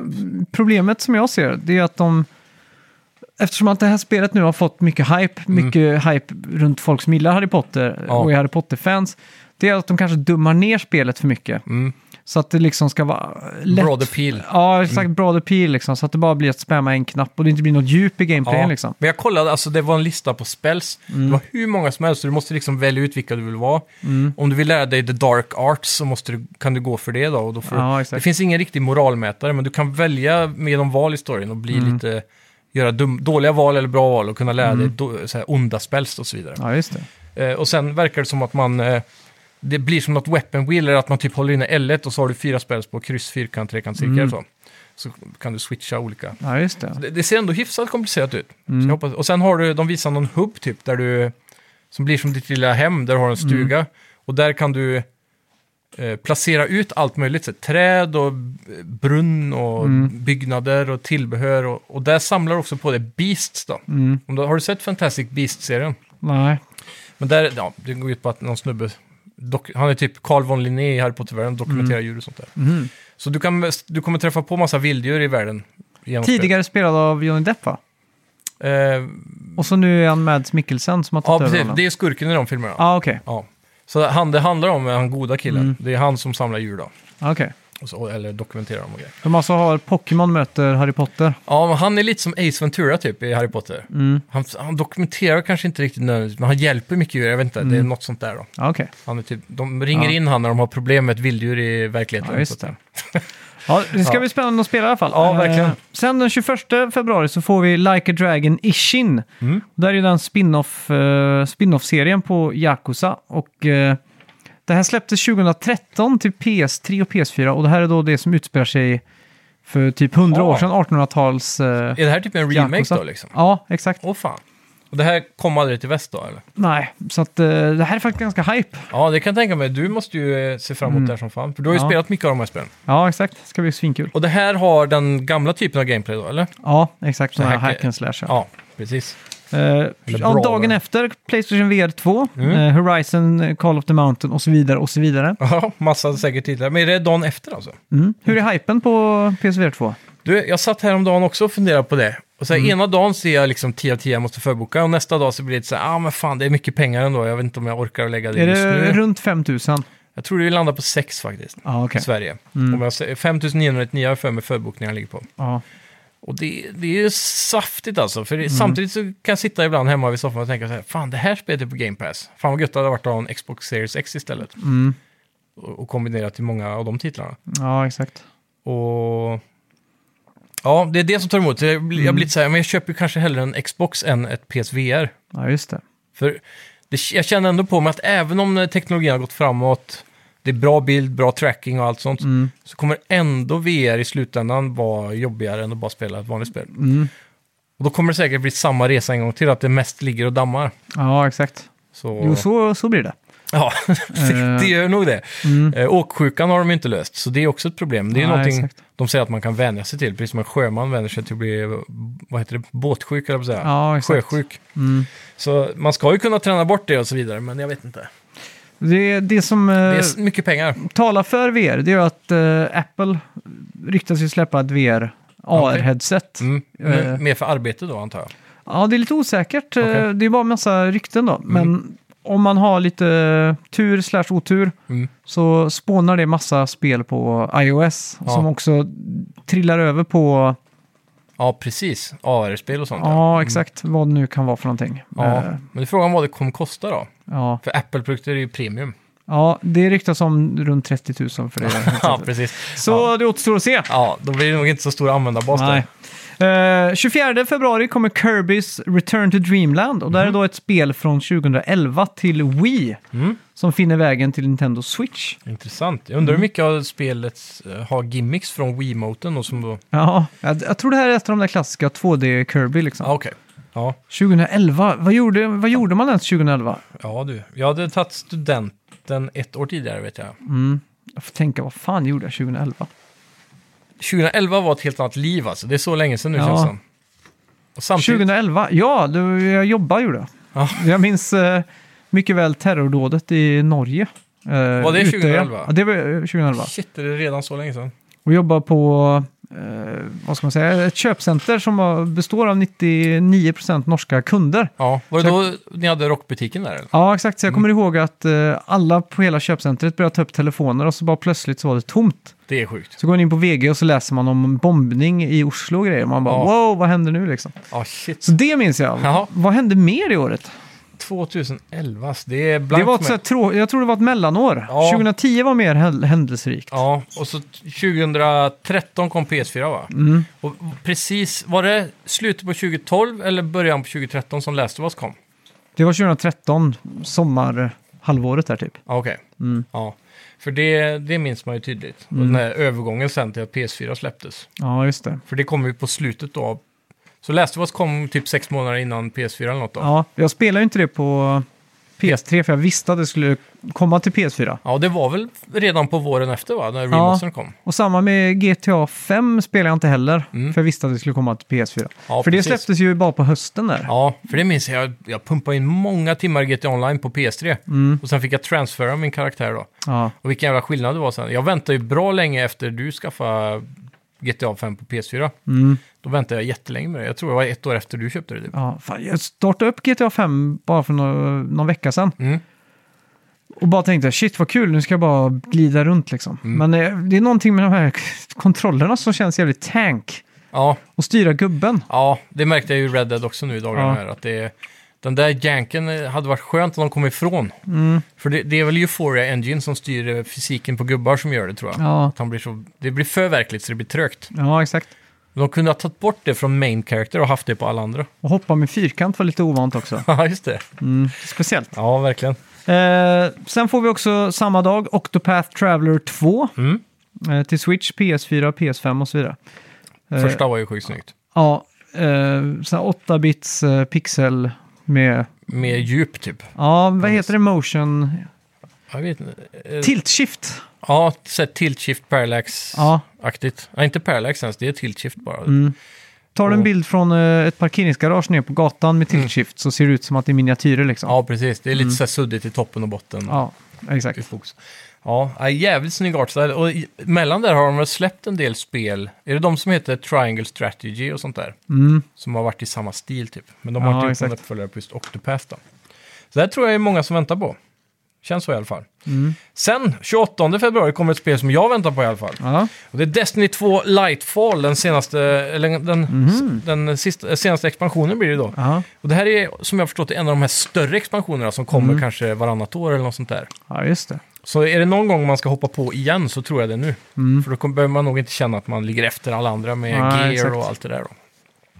problemet som jag ser det är att de... Eftersom att det här spelet nu har fått mycket hype, mycket hype runt folk som gillar Harry Potter
Mm. Ja.
och är Harry Potter-fans, det är att de kanske dummar ner spelet för mycket.
Mm.
Så att det liksom ska vara lätt.
Broad appeal.
Ja, exakt.
Mm.
Broad appeal liksom. Så att det bara blir att spamma en knapp och det inte blir något djup i gameplayen
Ja.
liksom. Mm.
Men jag kollade, alltså det var en lista på spells. Det var hur många som helst, så du måste liksom välja ut vilka du vill vara.
Mm.
Om du vill lära dig the dark arts så måste du, kan du gå för det då. Och då får
Ja,
du,
exakt.
det finns ingen riktig moralmätare, men du kan välja genom val i storyn och
Mm.
bli lite, göra dum, dåliga val eller bra val och kunna lära
Mm.
dig då, så här, onda spells och så vidare.
Ja, just det.
Eh, och sen verkar det som att man... Eh, det blir som något weapon wheel, eller att man typ håller inne L1 och så har du fyra spells på kryss, fyrkant, trekant,
Mm.
cirkel och så. Så kan du switcha olika.
Ja, just det.
Det, det ser ändå hyfsat komplicerat ut.
Mm.
Så jag hoppas, och sen har du, de visar någon hubb typ, där du... Som blir som ditt lilla hem, där du har en stuga. Och där kan du eh, placera ut allt möjligt. Så, här, träd och eh, brunn och byggnader och tillbehör. Och, och där samlar också på det Beasts då. Om du, har du sett Fantastic Beasts-serien?
Mm. Nej.
Men där, ja, det går ut på att någon snubbe, dok, han är typ Carl von Linné i Harry Potter-världen, dokumenterar djur och sånt där.
Mhm.
Så du, kan, du kommer träffa på massa vilddjur i världen. genom spelet.
Tidigare spelad av Johnny Depp va?
Eh,
Och så nu är han Mads Mikkelsen som har
ja,
tagit över
precis.
honom.
Det är skurken i de filmerna. Ja.
Ja, okej.
Så han, det handlar om är han goda killen. Det är han som samlar djur då.
Ja, Okej.
Och så, eller dokumenterar dem och grejer.
De alltså har Pokémon möter Harry Potter.
Ja, men han är lite som Ace Ventura typ i Harry Potter.
Mm.
Han, han dokumenterar kanske inte riktigt nödvändigtvis, men han hjälper mycket djur. Jag vet inte, det är något sånt där då.
Ja, okej.
Han är typ, de ringer
Ja.
in han när de har problem med ett vilddjur i verkligheten.
Ja, just
Så att-
det. <laughs> Ja, det ska
Ja.
bli spännande att spela i alla fall.
Ja, verkligen.
Eh, sen den 21 februari så får vi Like a Dragon Ishin.
Mm.
Där är ju den spin-off, eh, spin-off-serien på Yakuza. Och eh, det här släpptes 2013 till PS3 och PS4. Och det här är då det som utspelar sig för typ 100
Ja.
år sedan, 1800-tals... eh,
Är det här typ en remake
Yakuza.
då liksom?
Ja, exakt.
Åh fan. Och det här kom aldrig till väst då eller?
Nej, så att, eh, det här är faktiskt ganska hype.
Ja, det kan jag tänka mig. Du måste ju eh, se fram emot det här som fan. För du har ju
Ja.
spelat mycket av de här spelen.
Ja, exakt. Det ska bli svinkul.
Och det här har den gamla typen av gameplay då, eller?
Ja, exakt. Sådana här
här-
hack and slash. ja.
Ja, precis.
Eh, ja,
bra,
dagen
eller?
efter Playstation VR 2,
Mm.
eh, Horizon, eh, Call of the Mountain och så vidare. och så vidare.
Ja, massa säkert titlar. Men är det dagen efter alltså?
Mm. Hur är hypen på PSVR 2?
Du, jag satt häromdagen också och funderade på det. Och så
Mm.
här, ena dagen ser jag liksom 10 av 10 jag måste förboka och nästa dag så blir det lite så här, ah men fan det är mycket pengar ändå, jag vet inte om jag orkar lägga det
är
just
det
nu.
runt 5000?
Jag tror det landar på 6 faktiskt,
Ja, Mm.
i
okej.
Sverige. Om jag ser- 5999 har jag för mig förbokningarna ligger på.
Ja.
Och det, det är ju saftigt alltså. För det,
Mm.
samtidigt så kan jag sitta ibland hemma vid soffan och tänka så här, fan det här spelet är på Game Pass. Fan vad gött det hade varit att ha en Xbox Series X istället.
Mm.
Och, och kombinera till många av de titlarna.
ja, exakt.
Och... Ja, det är det som tar emot. Jag blir, jag blir lite så här, men jag köper ju kanske hellre en Xbox än ett PSVR.
Ja, just det.
För det, jag känner ändå på mig att även om eh, teknologin har gått framåt, det är bra bild, bra tracking och allt sånt,
Mm.
så kommer ändå VR i slutändan vara jobbigare än att bara spela ett vanligt spel.
Mm.
Och då kommer det säkert bli samma resa en gång till, att det mest ligger och dammar.
Ja, exakt.
Så,
Jo, så, så blir det. Eh,
Ja, <laughs> det- det gör nog det.
Mm.
Eh, åksjukan har de ju inte löst, så det är också ett problem. Det är ju
Nej,
någonting
exakt.
de säger att man kan vänja sig till, precis som en sjöman vänjer sig till att bli, vad heter det, båtsjuk, eller säga.
Ja, exakt.
Sjösjuk.
Mm.
Så man ska ju kunna träna bort det och så vidare, men jag vet inte.
Det, det som eh,
Det är s- mycket pengar.
talar för VR, det är ju att eh, Apple ryktas ju släppa ett VR AR-headset.
Mm.
Eh.
Men Mer för arbete då, antar jag.
Ja, det är lite osäkert. Eh,
Okej.
Det är bara en massa rykten då. Men om man har lite tur slash otur
Mm.
så spånar det massa spel på iOS
Ja.
som också trillar över på,
Ja, precis. AR-spel och sånt.
ja, exakt vad det nu kan vara för någonting.
Mm. Ja.
Eh,
Men frågan vad det kommer kosta då?
ja.
För Apple-produkter är ju premium.
ja, det ryktas om runt 30 000 för det.
<laughs> ja, precis.
så det återstår att se.
Ja, då blir det nog inte så stor användarbas då.
Nej. Eh, 24 februari kommer Kirbys Return to Dreamland och där är då ett spel från 2011 till Wii
Mm.
som finner vägen till Nintendo Switch.
Intressant. Jag undrar
Mm.
hur mycket av spelet eh, har gimmicks från Wiimoten och som då...
Ja, jag, jag tror det här är ett av de där klassiska 2D Kirby liksom.
Ja, okej. Ja.
2011, vad gjorde, vad gjorde man ens 2011?
ja, du. Jag hade tagit studenten ett år tidigare, vet jag.
Mm. Jag får tänka, vad fan gjorde jag 2011?
2011 var ett helt annat liv alltså. Det är så länge sedan nu
Ja.
känns det som. Och samtidigt...
2011, ja, det, jag jobbade gjorde jag.
Ja.
Jag minns eh, mycket väl terrordådet i Norge.
Var det 2011?
Ja, det var eh, 2011.
Shit, är det redan så länge sedan?
Och jobbade på eh, vad ska man säga, ett köpcenter som har- består av 99% norska kunder.
Ja, var det då ni hade rockbutiken där eller?
Ja, exakt. Så jag kommer ihåg att eh, alla på hela köpcentret började ta upp telefoner och så bara plötsligt så var det tomt.
Det är sjukt.
Så går man in på VG och så läser man om en bombning i Oslo och grejer. Man bara
Ja.
wow, vad händer nu liksom?
Ja, shit.
Så det minns jag.
Jaha.
Vad hände mer i året?
2011, alltså, det är
Det
blankt
var
för
ett så här
mig.
trå- jag tror det var ett mellanår.
Ja.
2010 var mer häl- händelserikt.
Ja, och så 2013 kom PS4 va?
Mm.
Och precis, var det slutet på 2012 eller början på 2013 som Last of Us kom?
Det var 2013, sommarhalvåret där typ.
Ja, okej. Ja, för det, det minns man ju tydligt. Och den här övergången sen till att PS4 släpptes.
Ja, just det.
För det kom ju på slutet då. av- Så Last of Us kom typ sex månader innan PS4 eller något då. Ja,
Ja, jag spelade ju inte det på PS3 för jag visste att det skulle komma till PS4.
det var väl redan på våren efter va? När remastern kom.
Och samma med GTA 5 spelade jag inte heller, för jag visste att det skulle komma till PS4.
Mm. Ja,
för
precis.
det släpptes ju bara på hösten där.
Ja, för det minns jag. Jag pumpade in många timmar GTA Online på PS3. Och sen fick jag transfera min karaktär då.
Ja.
Och vilken jävla skillnad det var sen. Jag väntade ju bra länge efter du skaffade GTA 5 på PS4. Då väntade jag jättelänge med det. Jag tror det var ett år efter du köpte det. Typ.
Ja, fan, jag startade upp GTA 5 bara för någon, någon vecka sedan.
Mm.
Och bara tänkte, shit vad kul, nu ska jag bara glida runt liksom.
Mm.
Men eh, det är någonting med de här kontrollerna som känns jävligt tank.
Ja,
Och styra gubben.
ja, det märkte jag ju i Red Dead också nu i dagarna.
Ja.
Här, att det, den där janken eh, hade varit skönt om de kom ifrån.
Mm.
För det, det är väl Euphoria Engine som styr eh, fysiken på gubbar som gör det tror jag.
Ja,
Att han blir så, det blir för verkligt så det blir trögt.
ja exakt.
De kunde ha tagit bort det från main character och haft det på alla andra. <laughs>
Och hoppa med fyrkant var lite ovant också.
Ja, just det.
Mm, speciellt.
Ja, verkligen.
Eh, sen får vi också samma dag Octopath Traveler 2.
Mm.
Eh, till Switch, PS4, PS5 och så vidare. Eh,
Första var ju sjukt snyggt.
Ja, eh, sån här 8-bits eh, pixel med,
Mer djup typ.
ja vad heter det, motion?
Jag vet inte. Eh,
Tilt shift.
Ja, så här tilt shift parallax-aktigt.
Ja. Mm.
Ja, inte parallax ens, det är tilt shift bara.
Tar du en
Och-
bild från eh, ett parkeringsgarage ner på gatan med tilt shift så ser det ut som att det är miniatyrer liksom.
Mm. Ja, precis. Det är lite så här suddigt i toppen och botten.
Ja,
I
exakt.
fokus. Ja, ja, jävligt snygg artstyle. Och i- mellan där har de väl släppt en del spel. Är det de som heter Triangle Strategy och sånt där?
Mm.
Som har varit i samma stil typ. Men de
Ja,
har inte gjort
exakt.
någon uppföljare på just Octopath då. Så det tror jag är många som väntar på. Känns så i alla fall.
Mm.
Sen, 28 februari, kommer ett spel som jag väntar på i alla fall.
Ja.
Och det är Destiny 2 Lightfall, den senaste, eller den,
Mhm.
den sista, eh, senaste expansionen blir det då.
Ja.
Och det här är, som jag har förstått, en av de här större expansionerna som kommer
Mm.
kanske varannat år eller något sånt där.
ja, just det.
Så är det någon gång man ska hoppa på igen så tror jag det nu.
Mm.
För då kommer, behöver man nog inte känna att man ligger efter alla andra med
Nej,
gear
exakt.
och allt det där.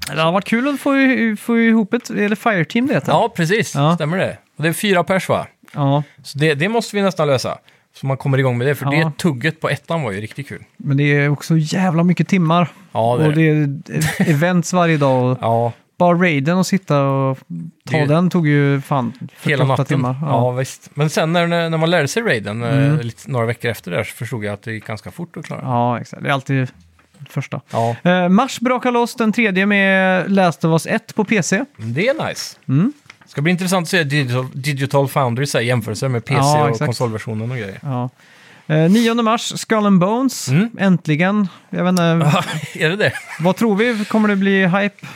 Då.
Det har varit kul att få, i- få ihop ett, eller Fireteam det heter.
Ja, precis.
Ja.
Stämmer det. Och det är fyra pers va?
ja.
Så det, det måste vi nästan lösa. Så man kommer igång med det, för
Ja.
det tugget på ettan var ju riktigt kul.
Men det är också jävla mycket timmar.
Ja, det är
och det är events varje dag. Och
Ja,
Bara raiden och sitta och ta
Det är-
den tog ju fan 48
Hela natten.
timmar. Mm.
Ja. visst. Men sen när, när man lärde sig raiden, eh, lite, några veckor efter det här, så förstod jag att det gick ganska fort att klara.
Ja, exakt. Det är alltid första.
Ja,
Eh, mars brakar loss den tredje med Last of Us 1 på PC.
det är nice.
Mm.
Ska bli intressant att se Digital, Digital Foundry så här, jämförelser med PC
Ja,
och
exakt.
konsolversionen och grejer. <laughs>
Ja. Eh, 9 mars, Skull and Bones.
Mm. Ah.
Äntligen. Jag vet inte,
är det det?
vad tror vi? Kommer det bli hype?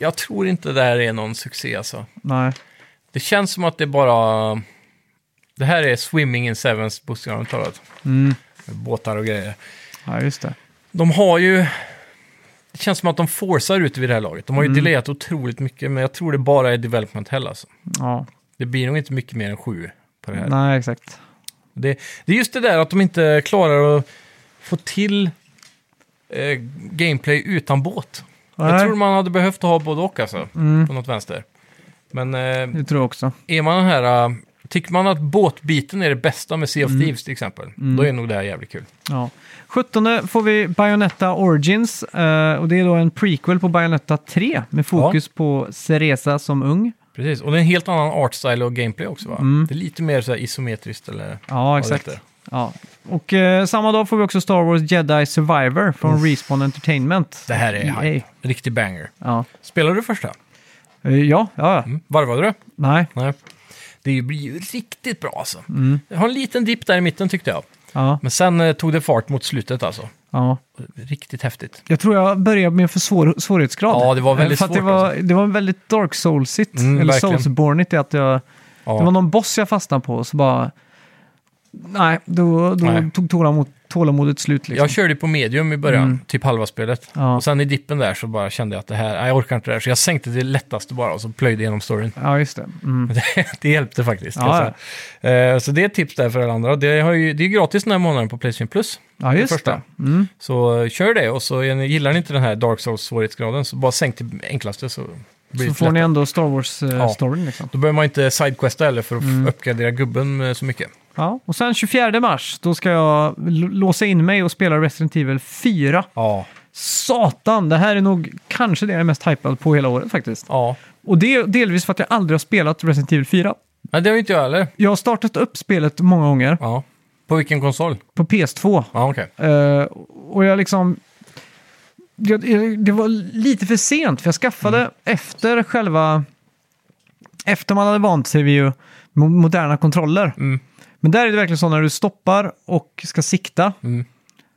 Jag tror inte det här är någon succé alltså.
Nej.
Det känns som att det bara... Det här är Swimming in Sevens, bokstavligt talat.
Mm.
Med Båtar och grejer.
Ja, just det.
De har ju... Det känns som att de forcear ut vid det här laget. De har ju
Mm.
delayat otroligt mycket, men jag tror det bara är development hell alltså.
Ja.
Det blir nog inte mycket mer än sju på det här.
Nej, exakt.
Det, det är just det där att de inte klarar att få till eh, gameplay utan båt. Jag
Nej.
tror man hade behövt ha både och alltså, på något vänster. Men eh,
Det tror jag också.
är man den här... eh, Tycker man att båtbiten är det bästa med Sea of
Mm.
Thieves till exempel, då är nog det här jävligt kul.
Ja. 17 får vi Bayonetta Origins eh, och det är då en prequel på Bayonetta 3 med fokus på Ceresa som ung.
Precis, och det är en helt annan artstyle och gameplay också va?
Mm.
Det är lite mer så här isometriskt eller...
Ja,
vad det
exakt.
heter.
Ja. Och eh, samma dag får vi också Star Wars Jedi Survivor från Respawn Entertainment.
Det här
EA.
är hype. Riktig banger.
Ja,
Spelar du första?
Eh, ja, ja. ja.
Mm. Varvade du?
nej. Mm.
Nej. Det blir ju riktigt bra alltså. Jag har en liten dipp där i mitten tyckte jag.
Ja,
Men sen eh, tog det fart mot slutet alltså.
ja.
Riktigt häftigt.
Jag tror jag började med för svår, svårighetsgrad. Eh,
Ja, det var väldigt
för att det
svårt alltså.
var, Det var väldigt dark soulsigt,
Mm,
eller
verkligen.
soulsbornigt i att jag...
Ja.
Det var någon boss jag fastnade på och så bara... Nej, då, då
Nej.
tog tålamod, tålamodet slut liksom.
Jag körde på medium i början,
Mm.
typ halva spelet.
Ja.
Och sen i dippen där så bara kände jag att det här, nej, jag orkar inte det här. Så jag sänkte det lättaste bara och så plöjde igenom storyn. <laughs>
Ja, just det. Mm.
det hjälpte faktiskt. kan
Ja,
jag säga. Eh, Så det är ett tips där för alla andra. Det, har ju, det är gratis den här månaden på Playstation Plus.
Ja, just
första.
det. Mm.
Så eh, kör det och så är ni- gillar ni inte den här Dark Souls-svårighetsgraden så bara sänk till enklaste så blir
Så
det
får
lätt.
ni ändå Star Wars-storyn
Ja.
liksom.
Då behöver man inte sidequesta heller för att
Mm.
f- uppgradera gubben eh, så mycket.
Ja. Och sen 24 mars, då ska jag l- låsa in mig och spela Resident Evil 4.
Ja.
Satan, det här är nog kanske det jag är mest hypad på hela året faktiskt.
ja.
Och det är delvis för att jag aldrig har spelat Resident Evil 4.
Men det har ju inte jag heller.
Jag har startat upp spelet många gånger
Ja. På vilken konsol?
på PS2.
Ja, okej.
Eh, och jag liksom... Jag, jag, det var lite för sent, för jag skaffade
Mm.
efter själva... Efter man hade vant sig vid ju mo- moderna kontroller.
Mm.
Men där är det verkligen så när du stoppar och ska sikta,
Mm.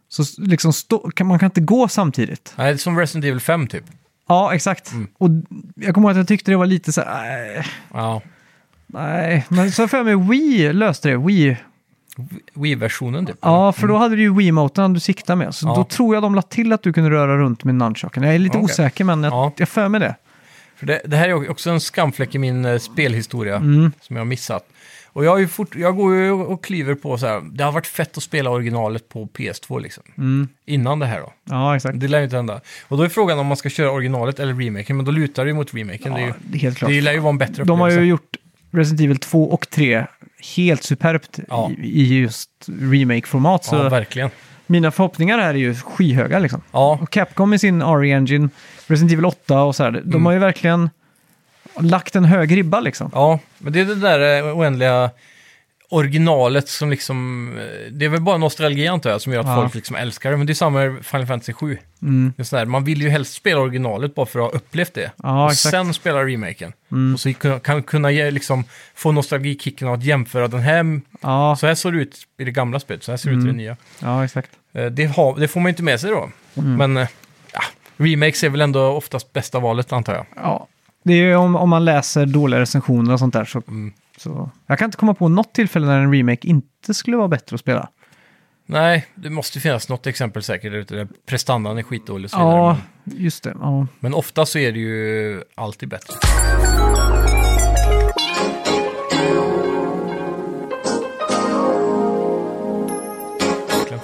så s- liksom stå, kan, man kan inte gå samtidigt.
Nej, det är som Resident Evil 5 typ.
Ja, exakt.
Mm.
Och jag kommer ihåg att jag tyckte det var lite så här... "Äh,
Ja.
Nej, men så har jag för mig Wii löste det. Wii.
Wii-versionen typ.
Ja, för då hade du ju Wii-moten du siktade med. Så
Ja.
då tror jag de la till att du kunde röra runt med nunchucken. Jag är lite
Okej.
osäker, men jag,
Ja.
jag för mig det.
För det, det här är också en skamfläck i min eh, spelhistoria
Mm.
som jag har missat. Och jag, har ju fort, jag går ju och och kliver på så här, det har varit fett att spela originalet på PS2 liksom.
Mm.
Innan det här då.
Ja, exakt.
Det lär ju inte hända. Och då är frågan om man ska köra originalet eller remaken, men då lutar det ju mot remaken.
Ja,
det, är ju,
det är helt klart.
det lär ju vara en bättre
De har ju
upplevelse.
gjort Resident Evil 2 och 3 helt superbt
Ja.
i, i just remake-format. Så
Ja, verkligen.
mina förhoppningar här är ju skyhöga liksom.
Ja,
Och Capcom med sin RE-engine, Resident Evil 8 och så här. De har ju verkligen lagt en hög ribba liksom.
Mm. ja, men det är det där eh, oändliga originalet som liksom... eh, Det är väl bara nostalgi antar jag som gör att
Ja.
folk liksom älskar det, men det är samma med Final Fantasy 7.
Mm.
Det är sån här, man vill ju helst spela originalet bara för att ha upplevt det.
Ja,
och
exakt. Mm.
sen spela remaken. Och så kan, kan kunna ge, liksom, få nostalgikicken av att jämföra den här.
Ja,
Så här såg det ut i det gamla spelet, så här ser det ut
Mm.
i det nya.
ja exakt.
Eh, Det, har, det får man ju inte med sig då.
Mm.
Men eh, ja, remakes är väl ändå oftast bästa valet antar jag.
Ja, det är ju om, om man läser dåliga recensioner och sånt där så,
Mm.
så... Jag kan inte komma på något tillfälle när en remake inte skulle vara bättre att spela.
Nej, det måste ju finnas något exempel säkert där ute där prestandan är skitdålig och så vidare.
Ja,
Men,
just det. Ja.
men ofta så är det ju alltid bättre.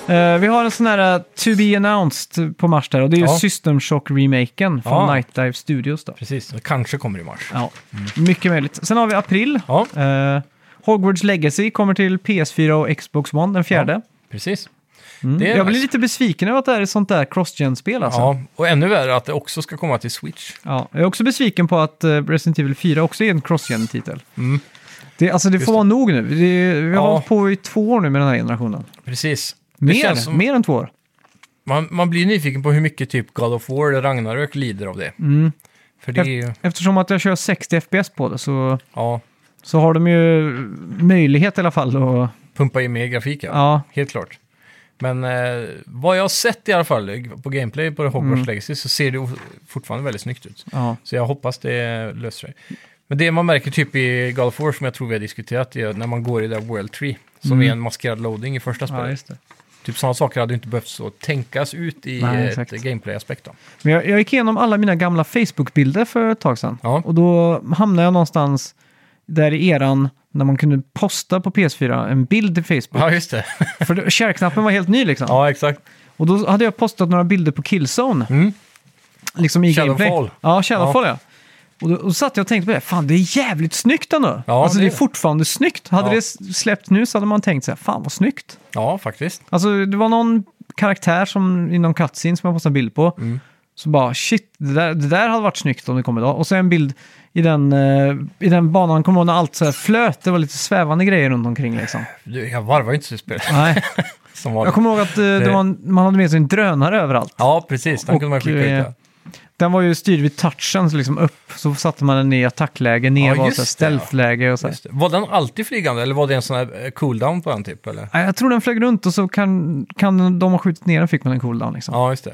Eh, vi har en sån här eh, To Be Announced på mars där och det är ju
Ja.
System Shock-remaken från
Ja.
Night Dive Studios. Då.
Precis, det kanske kommer i mars.
Ja,
Mm.
mycket möjligt. Sen har vi april.
Ja,
Eh, Hogwarts Legacy kommer till PS4 och Xbox One den fjärde.
precis.
Mm.
det är
Jag blir
nice.
lite besviken över att det här är sånt där cross-gen-spel alltså.
Ja, och ännu värre att det också ska komma till Switch.
Ja, jag är också besviken på att eh, Resident Evil 4 också är en cross-gen-titel.
Mm.
Det, alltså det får
det.
vara nog nu. Det, vi har
Ja.
hållit på i två år nu med den här generationen.
Precis. Det
Mer,
känns som-
mer än två år.
Man, man blir nyfiken på hur mycket typ God of War eller Ragnarök lider av det. För det är ju,
Mm. Eftersom att jag kör 60 FPS på det så,
ja,
så har de ju möjlighet i alla fall att...
pumpa in mer grafik. Ja.
Ja,
Helt klart. Men eh, vad jag har sett i alla fall på gameplay på Hogwarts
Mm.
Legacy så ser det o- fortfarande väldigt snyggt ut.
ja.
Så jag hoppas det löser sig. Men det man märker typ i God of War som jag tror vi har diskuterat är när man går i det där World Tree som är en maskerad loading i första
Mm. ja
spelet.
just det.
typ sådana saker hade ju inte behövt så tänkas ut i
Nej,
ett
exakt.
gameplay-aspekt. då. <laughs>
Men jag, jag gick igenom alla mina gamla Facebook-bilder för ett tag sedan.
Ja.
Och då hamnade jag någonstans där i eran när man kunde posta på PS4 en bild till
<laughs>
Facebook.
Ja, just det.
För det- share-knappen var helt ny liksom.
ja, exakt.
Och då hade jag postat några bilder på Killzone.
Mm.
Liksom i
Shadowfall.
gameplay. Ja, Shadowfall ja. Och då, och då satt jag och tänkte på det, fan det är jävligt snyggt ändå.
Ja,
alltså det är
det-
fortfarande snyggt. Hade
Ja.
det s- släppt nu så hade man tänkt så här, fan vad snyggt.
<laughs> Ja, faktiskt.
Alltså det var någon karaktär som, i någon cutscene som jag postade en bild på.
Mm.
Så bara shit, det där, det där hade varit snyggt om det kom idag. Och så en bild i den, eh, i den banan, kommer du ihåg när allt så här flöt? Det var lite svävande grejer runt omkring
<laughs>
liksom.
Du, jag varvar ju inte så spelet <laughs>
Nej.
som var.
Jag kommer ihåg att eh, det var en, man hade med sig en drönare överallt.
Ja, precis. Den kunde man skicka ut.
eh,
Ja.
Den var ju styrd vid touchen, så liksom upp så satte man den i attackläge, ner
Ja,
var
just
så här
det, ja.
stealthläge och så. här.
Just det. Var den alltid flygande eller var det en sån här eh, cooldown på den typ? Eller?
Nej, Jag tror den flög runt och så kan, kan de ha skjutit ner den fick man en cooldown. Liksom.
Ja, just det.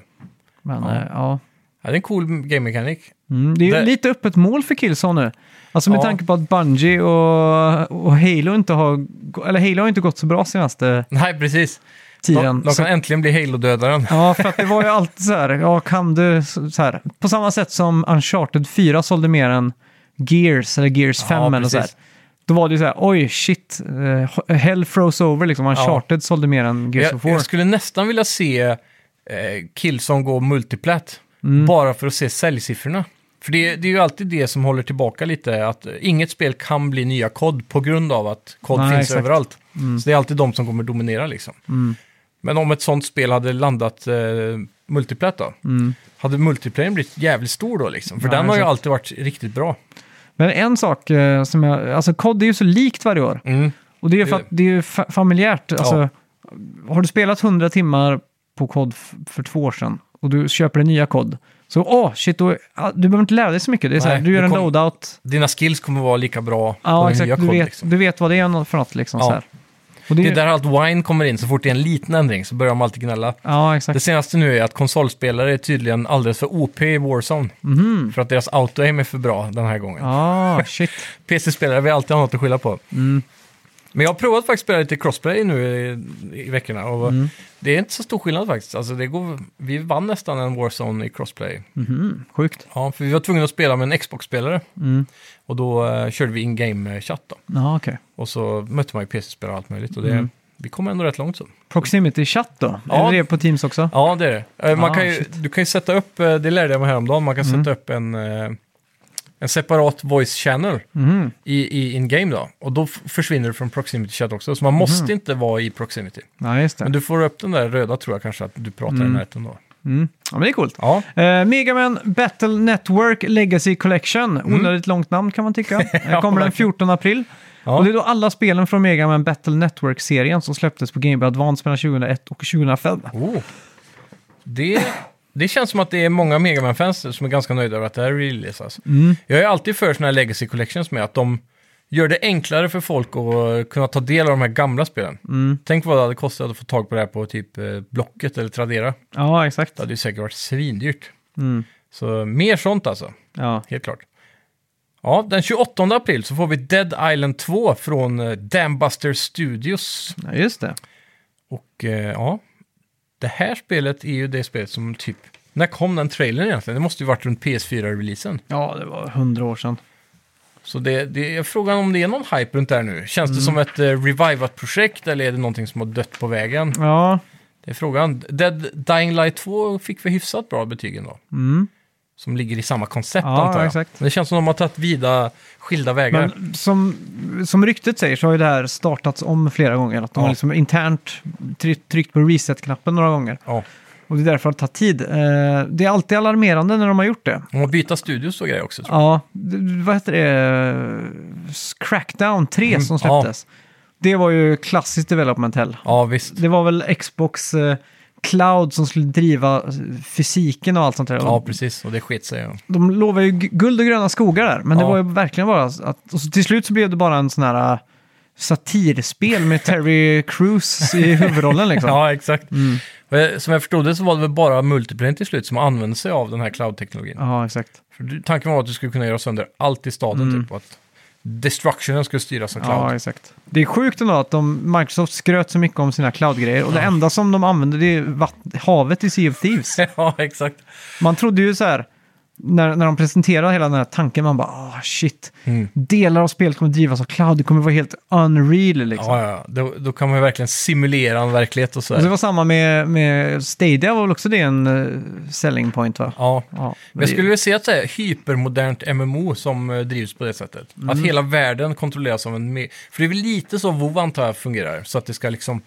Men,
Ja.
ja. Ja.
Ja, det är en cool game mechanic.
Mm, det är ju
Det-
lite öppet mål för Killzone nu. Alltså med
Ja.
tanke på att Bungie och, och Halo inte har... Eller Halo har inte gått så bra senaste
<laughs> Nej, precis.
tiden.
De, de
Så-
kan äntligen bli Halo-dödaren.
Ja, för att det var ju alltid så här, ja kan du så så här. På samma sätt som Uncharted 4 sålde mer än Gears eller Gears 5
Ja,
eller så här.
precis.
Då var det ju så här, oj shit, eh, hell froze over liksom. Uncharted sålde mer än Gears
Jag,
of War.
jag skulle nästan vilja se eh, Killzone gå multiplat.
Mm.
Bara för att se säljsiffrorna. För det, det är ju alltid det som håller tillbaka lite. Att eh, inget spel kan bli nya kod på grund av att kod
Nej,
finns
exakt. Mm.
överallt. Så det är alltid de som kommer dominera liksom. Men om ett sånt spel hade landat eh, multiplat då.
Mm.
Hade multiplayern blivit jävligt stor då liksom? För
Ja,
den har ju
exakt.
alltid varit riktigt bra.
Men en sak eh, som jag, alltså COD är ju så likt varje år.
Mm.
Och det är ju
Det-
för att det är ju fa- familjärt. Alltså, Har du spelat 100 timmar på kod f- för två år sedan och du köper en nya kod. Så åh, shit, då, ah, du behöver inte lära dig så mycket. Det är så här,
Nej,
du gör
du
en
kom-
loadout.
Dina skills kommer vara lika bra på
Ja,
den
exakt. Du
koden,
vet,
liksom.
du vet vad det är för något liksom.
Ja.
Så här. Och det är
Det
ju-
är där allt wine kommer in, så fort det är en liten ändring så börjar de alltid gnälla.
Ja, exakt.
Det senaste nu är att konsolspelare är tydligen alldeles för OP i Warzone. För att deras auto-aim är för bra den här gången.
Mm. Mhm. Ja, shit.
PC-spelare vill alltid ha något att skylla på.
Mm.
Men jag har provat faktiskt spela lite crossplay nu i, i veckorna. Och
Mm.
Det är inte så stor skillnad faktiskt. Alltså, det går, vi vann nästan en Warzone i crossplay.
Sjukt.
Ja, för vi var tvungna att spela med en Xbox-spelare.
Mm.
Och då eh, körde vi in-game-chatt då.
Ja, okej.
Och så mötte man ju PC-spelare och allt möjligt. Och det,
Mm.
Vi kom ändå rätt långt så.
Proximity-chatt då?
Ja.
Är det det på Teams också?
Ja, det är det. Eh, Man
Ah,
kan ju,
shit. Mm.
du kan ju sätta upp, eh, det lärde jag mig häromdagen, man kan sätta upp en, eh, en separat voice channel
Mhm.
i, i in-game då. Och då f- försvinner du från proximity chat också,
Mhm.
så man måste inte vara i proximity.
Ja, just det.
Men du får upp den där röda tror jag kanske att du pratar i närheten då.
Mm. Ja, men det är coolt.
Ja,
Eh, Mega Man Battle Network Legacy Collection.
Mm.
Onödigt långt namn kan man
<laughs>
tycka. Eh, Kommer den 14 april.
Ja.
Och det är då alla spelen från Mega Man Battle Network-serien som släpptes på Game Boy Advance mellan 2001 och 2005.
oh. det, det känns som att det är många Mega man fans som är ganska nöjda över att det här releasas.
Mm.
Jag är alltid för sådana här legacy collections med att de gör det enklare för folk att eh, kunna ta del av de här gamla spelen.
Mm.
Tänk vad det hade kostat att få tag på det här på typ eh, Blocket eller Tradera.
Ja, exakt.
Det hade ju säkert varit svindyrt.
Mm.
Så mer sånt alltså,
Ja.
helt klart. Ja, den 28 april så får vi Dead Island 2 från eh, Dambuster Studios.
ja, just det.
Och eh, ja, det här spelet är ju det spelet som typ... När kom den trailern egentligen? Det måste ju varit runt PS4-releasen.
Ja, det var hundra år sedan.
Så det, det är frågan om det är någon hype runt det här nu. Känns det som ett eh, revivat projekt eller är det någonting som har dött på vägen?
Ja,
Det är frågan. Dead Dying Light 2 fick vi hyfsat bra betyg ändå.
mm.
Som ligger i samma koncept
Ja,
antar jag.
exakt.
Men det känns som de har tagit vida skilda vägar.
men som, som ryktet säger så har ju det här startats om flera gånger. Att de
Ja.
har liksom internt try- tryckt på reset-knappen några gånger.
Ja.
Och det är därför det tar tid. Eh, det är alltid alarmerande när de har gjort det.
De har bytt studios och grejer också tror jag.
Ja, d- vad heter det? Crackdown 3 som
Mm, ja.
släpptes. Det var ju klassiskt development hell.
Ja, visst.
Det var väl Xbox eh, Cloud som skulle driva eh, fysiken och allt sånt där.
Ja, precis. Och det sket sig. ja.
De lovade ju gu- guld och gröna skogar där, men det
Ja.
var ju verkligen bara att... Och så till slut så blev det bara en sån här eh, satirspel med Terry Crews
<laughs>
i huvudrollen liksom.
Ja, exakt. Och, eh, Som jag förstod det så var det väl bara multiplayer till slut som använde sig av den här cloud-teknologin.
ja exakt.
För du- tanken var att du skulle kunna göra sönder allt i staden typ. Och att destructionen skulle styras av cloud.
Mm. Ja, exakt. Det är sjukt ändå att de, Microsoft skröt så mycket om sina cloud-grejer och det enda som de använde det är vatt- havet i Sea of Thieves.
<laughs> ja, exakt.
Man trodde ju så här, när, när de presenterade hela den här tanken, man bara ah shit,
Mm.
delar av spelet kommer drivas av cloud, det kommer vara helt unreal liksom.
Ja, ja, ja. Då, då kan man ju verkligen simulera en verklighet
Och
och
Alltså, det
sådär.
var samma med, med Stadia, var väl också det en eh, selling point va?
Ja.
Ja,
Men jag skulle vilja se ett så här hypermodernt MMO som eh, drivs på det sättet. Att
Mm.
hela världen kontrolleras av en... me- För det är väl lite så WoW antar jag fungerar. Så att det ska liksom...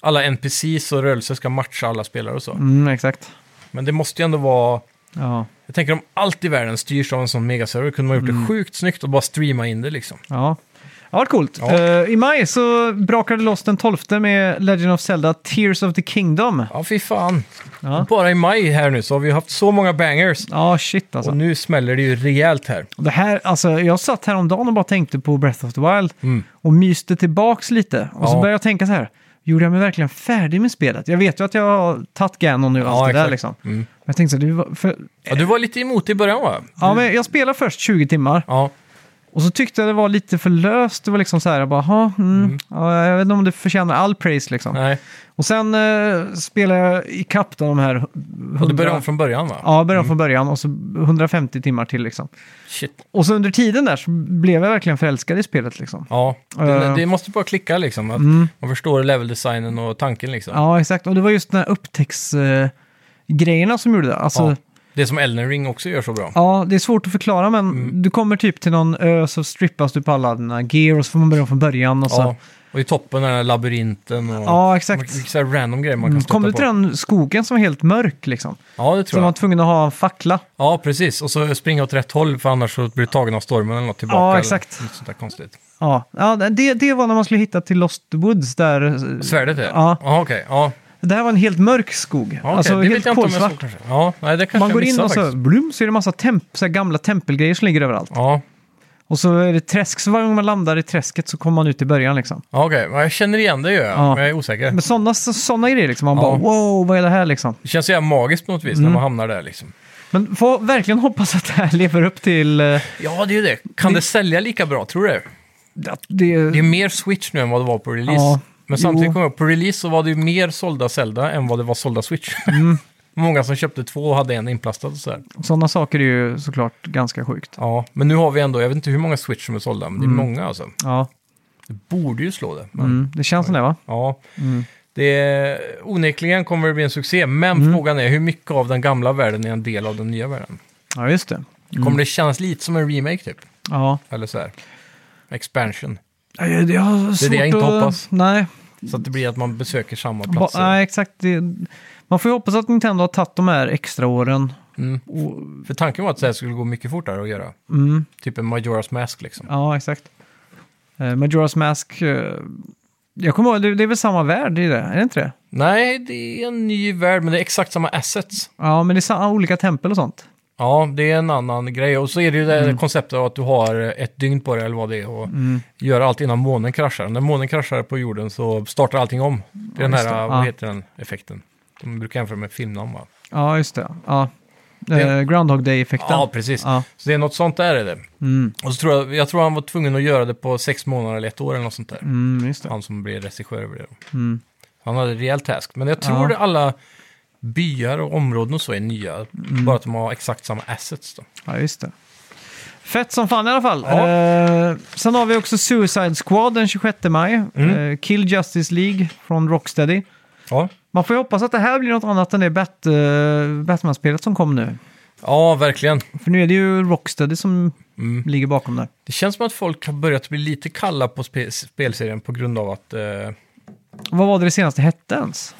Alla NPCs och rörelser ska matcha alla spelare och så.
Mm, exakt.
Men det måste ju ändå vara...
Ja,
Jag tänker om
Mm.
allt i världen styrs av en sån megaserver kunde man gjort det sjukt snyggt och bara streama in det liksom.
ja. Ja, vad coolt.
Ja.
Eh, I maj så brakade det loss den 12 med Legend of Zelda Tears of the Kingdom.
Ja, fy fan.
Ja.
Bara i maj här nu så har vi haft så många bangers.
Ja, shit alltså.
Och nu smäller det ju rejält här.
Det här, alltså, jag satt häromdagen och bara tänkte på Breath of the Wild och myste tillbaks lite. Och så
Ja.
började jag tänka så här, gjorde jag mig verkligen färdig med spelet? Jag vet ju att jag har tagit Ganon nu och allt det där
exakt.
liksom.
Mm.
Men jag tänkte så här, det var, för,
Ja, du var lite emot i början va?
ja, men jag spelade först 20 timmar
Ja,
och så tyckte jag det var lite för löst. Det var liksom så här, jag bara, "Ha, mm, Ja, jag vet inte om det förtjänar all praise liksom.
nej.
Och sen eh, spelade jag ikapp då de här... Hundra,
Och du började om från Mm. början va?
Ja, började om från början och så 150 timmar till liksom.
Shit.
Och så under tiden där så blev jag verkligen förälskad i spelet liksom.
Ja,
Eh. Mm.
det, det måste bara klicka liksom. Att Man förstår leveldesignen och tanken liksom.
Ja, exakt. Och det var just den här upptäcktsgrejerna som gjorde det. Alltså, ja.
Ja. Det som Elden Ring också gör så bra.
det är svårt att förklara, men
Mm.
du kommer typ till någon ö så strippas du på alla dina gear och så får man börja från början. Och så.
Ja.
Ja,
Och i toppen den här labyrinten och...
alltså- exakt. Mm.
Så här random grejer man kan stöta
Kommer du
på.
till den skogen som var helt mörk liksom?
Ja, det
Så
tror
man var
jag.
tvungen att ha en fackla.
Ja, precis. Och så springa åt rätt håll för annars så blir du tagen av stormen eller något tillbaka.
Ja,
eller
exakt.
Något sånt där konstigt.
Ja, ja det, det var när man skulle hitta till Lost Woods där.
Svärdet är?
Ja.
Ja, okej. Ja,
Det här var en helt mörk skog.
Ja, okej.
Alltså
det
helt
vet jag inte om jag
kolsvart.
såg kanske. Ja, nej, det kanske
Man
jag
går in
missade
och så,
faktiskt.
blum, så är det massa temp, så här gamla tempelgrejer som ligger överallt.
Ja,
Och så är det träsk, så varje gång man landar i träsket så kommer man ut i början liksom.
ja okej. Ja, Jag känner igen det gör jag,
Ja.
men jag är osäker.
Men sådana såna grejer liksom, man
Ja.
bara wow, vad är det här liksom?
Det känns så jävla magiskt på något
Mm.
vis när man hamnar där liksom.
Men får verkligen hoppas att det här <laughs> lever upp till... eh,
Ja, det är ju det. Kan det, sälja lika bra, tror du?
att det,
Det är mer Switch nu än vad det var på release.
Ja,
Men samtidigt
jo.
kommer jag ihåg, på release så var det ju mer sålda Zelda än vad det var sålda Switch.
Mm.
<laughs> Många som köpte två och hade en inplastad och sådär.
sådana saker är ju såklart ganska sjukt.
Ja, men nu har vi ändå, jag vet inte hur många Switch som är sålda, men det är många alltså.
Ja,
Det borde ju slå det. Men,
mm, det känns som det va?
ja. Det är, onekligen kommer det bli en succé, men
Mm.
frågan är hur mycket av den gamla världen är en del av den nya världen?
Ja, just det.
Kommer det kännas lite som en remake typ?
Ja.
Eller så här. Expansion.
Jag, jag, jag har svårt
jag inte
att,
hoppas.
Nej,
Så att det blir att man besöker samma
ba,
platser.
nej exakt. Det, man får ju hoppas att Nintendo har tagit de här extra åren.
Mm.
Och,
För tanken var att det här skulle gå mycket fortare att göra.
mm,
Typ en Majora's Mask liksom.
ja, exakt. Eh, Majora's Mask, eh, jag kommer ihåg, det, det är väl samma värld i det, är det inte det?
Nej, det är en ny värld, men det är exakt samma assets.
Ja, men det är samma, olika tempel och sånt.
Ja, det är en annan grej. Och så är det ju det
Mm.
här konceptet av att du har ett dygn på dig eller vad det är och gör allt innan månen kraschar. När månen kraschar på jorden så startar allting om. Det är den
just
här,
det. Ja.
vad heter den effekten? De brukar jämföra med filmnamn va?
Ja, just det. Ja.
Det-
Eh, Groundhog Day-effekten.
Ja, precis.
Ja.
Så det är något sånt där är det.
Mm.
Och så tror jag, jag tror han var tvungen att göra det på sex månader eller ett år eller något sånt där.
Mm, just det.
Han som blev regissör över det. då.
Mm.
Han hade en rejäl task. Men jag tror
Ja.
att alla byar och områden och så är nya.
Mm.
Bara att de har exakt samma assets då.
Ja, just det. Fett som fan i alla fall.
Ja.
Eh, sen har vi också Suicide Squad den 26 maj.
Mm.
Eh, Kill Justice League från Rocksteady.
Ja,
Man får ju hoppas att det här blir något annat än det Bat- eh, Batman-spelet som kom nu.
ja verkligen.
För nu är det ju Rocksteady som
Mm.
ligger bakom där.
Det känns som att folk har börjat bli lite kalla på spe spelserien på grund av att eh,
Vad var det det senaste hette ens?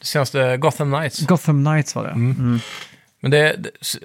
det senaste Gotham Knights.
Gotham Knights var det. Mm.
Men det, det, s-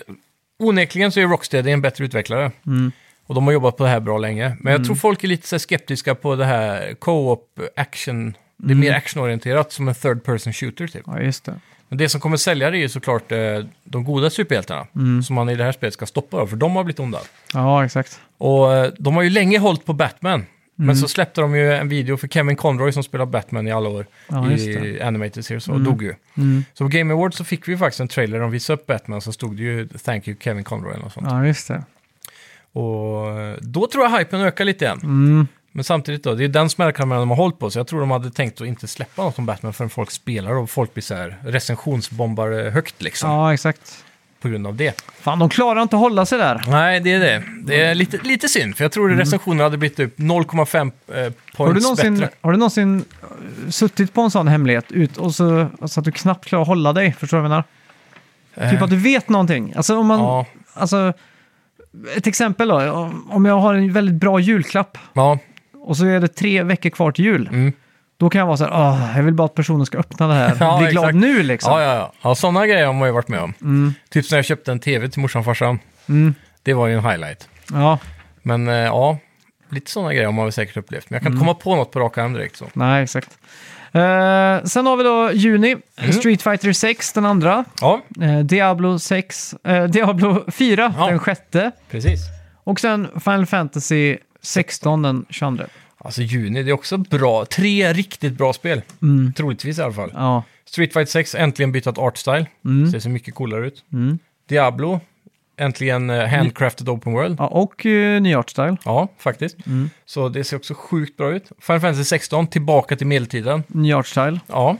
onekligen så är Rocksteady en bättre utvecklare.
Mm.
Och de har jobbat på det här bra länge. Men jag tror folk är lite så här skeptiska på det här co-op action. Det är
Mm.
mer actionorienterat som en third person shooter typ.
Ja, just det.
Men det som kommer sälja det är ju såklart eh, de goda superhjältarna.
Mm.
Som man i det här spelet ska stoppa då, för de har blivit onda.
Ja, exakt.
Och eh, de har ju länge hållit på Batman.
Mm.
Men så släppte de ju en video för Kevin Conroy som spelar Batman i alla år
Ja, just
i Animated Series och dog ju.
Mm.
Så på Game Awards så fick vi faktiskt en trailer de visade upp Batman så stod det ju Thank you Kevin Conroy eller något sånt.
Ja, just det.
Och eh, då tror jag hypen ökar lite igen.
Mm.
Men samtidigt då, det är den smällkameran de har hållit på så jag tror de hade tänkt att inte släppa något om Batman förrän folk spelar och folk blir så här recensionsbombare högt liksom
Ja, exakt.
på grund av det.
Fan, de klarar inte att hålla sig där.
Nej, det är det. Det är lite, lite synd för jag tror recensionerna hade blivit typ 0,5 eh, points
Mm. Har du, någonsin,
bättre.
har du någonsin eh, suttit på en sån hemlighet ut och så, alltså att du knappt klarar att hålla dig? Förstår du vad jag menar? Typ att du vet någonting. Alltså om man,
Ja,
alltså, ett exempel då. Om- Om jag har en väldigt bra julklapp
ja,
och så är det tre veckor kvar till jul.
Mm.
Då kan jag vara så här, "Åh, jag vill bara att personen ska öppna det här.
<laughs> Ja,
Bli glad
exakt.
nu liksom.
ja, ja, ja. ja sådana grejer har man ju varit med om. Typ när jag köpte en tv till morsan och farsan.
Mm.
Det var ju en highlight.
Ja.
Men eh, ja, Lite sådana grejer har man väl säkert upplevt, men jag kan
Mm.
inte komma på något på rak arm direkt. Så.
Nej, exakt. Eh, sen har vi då Juni,
Mm.
Street Fighter 6, den andra.
Ja,
Eh, Diablo, 6, eh, Diablo 4,
Ja.
den sjätte.
precis.
Och sen Final Fantasy 16, den 22.
Alltså juni, det är också bra. Tre riktigt bra spel.
Mm.
Troligtvis i alla fall.
Ja,
Street Fighter 6, äntligen bytt art style. Ser så mycket coolare ut.
Mm.
Diablo, äntligen eh, handcrafted open world.
ja och uh, ny art style.
Ja, faktiskt.
Mm.
Så det ser också sjukt bra ut. Final Fantasy 16, tillbaka till medeltiden.
Ny art style.
Ja,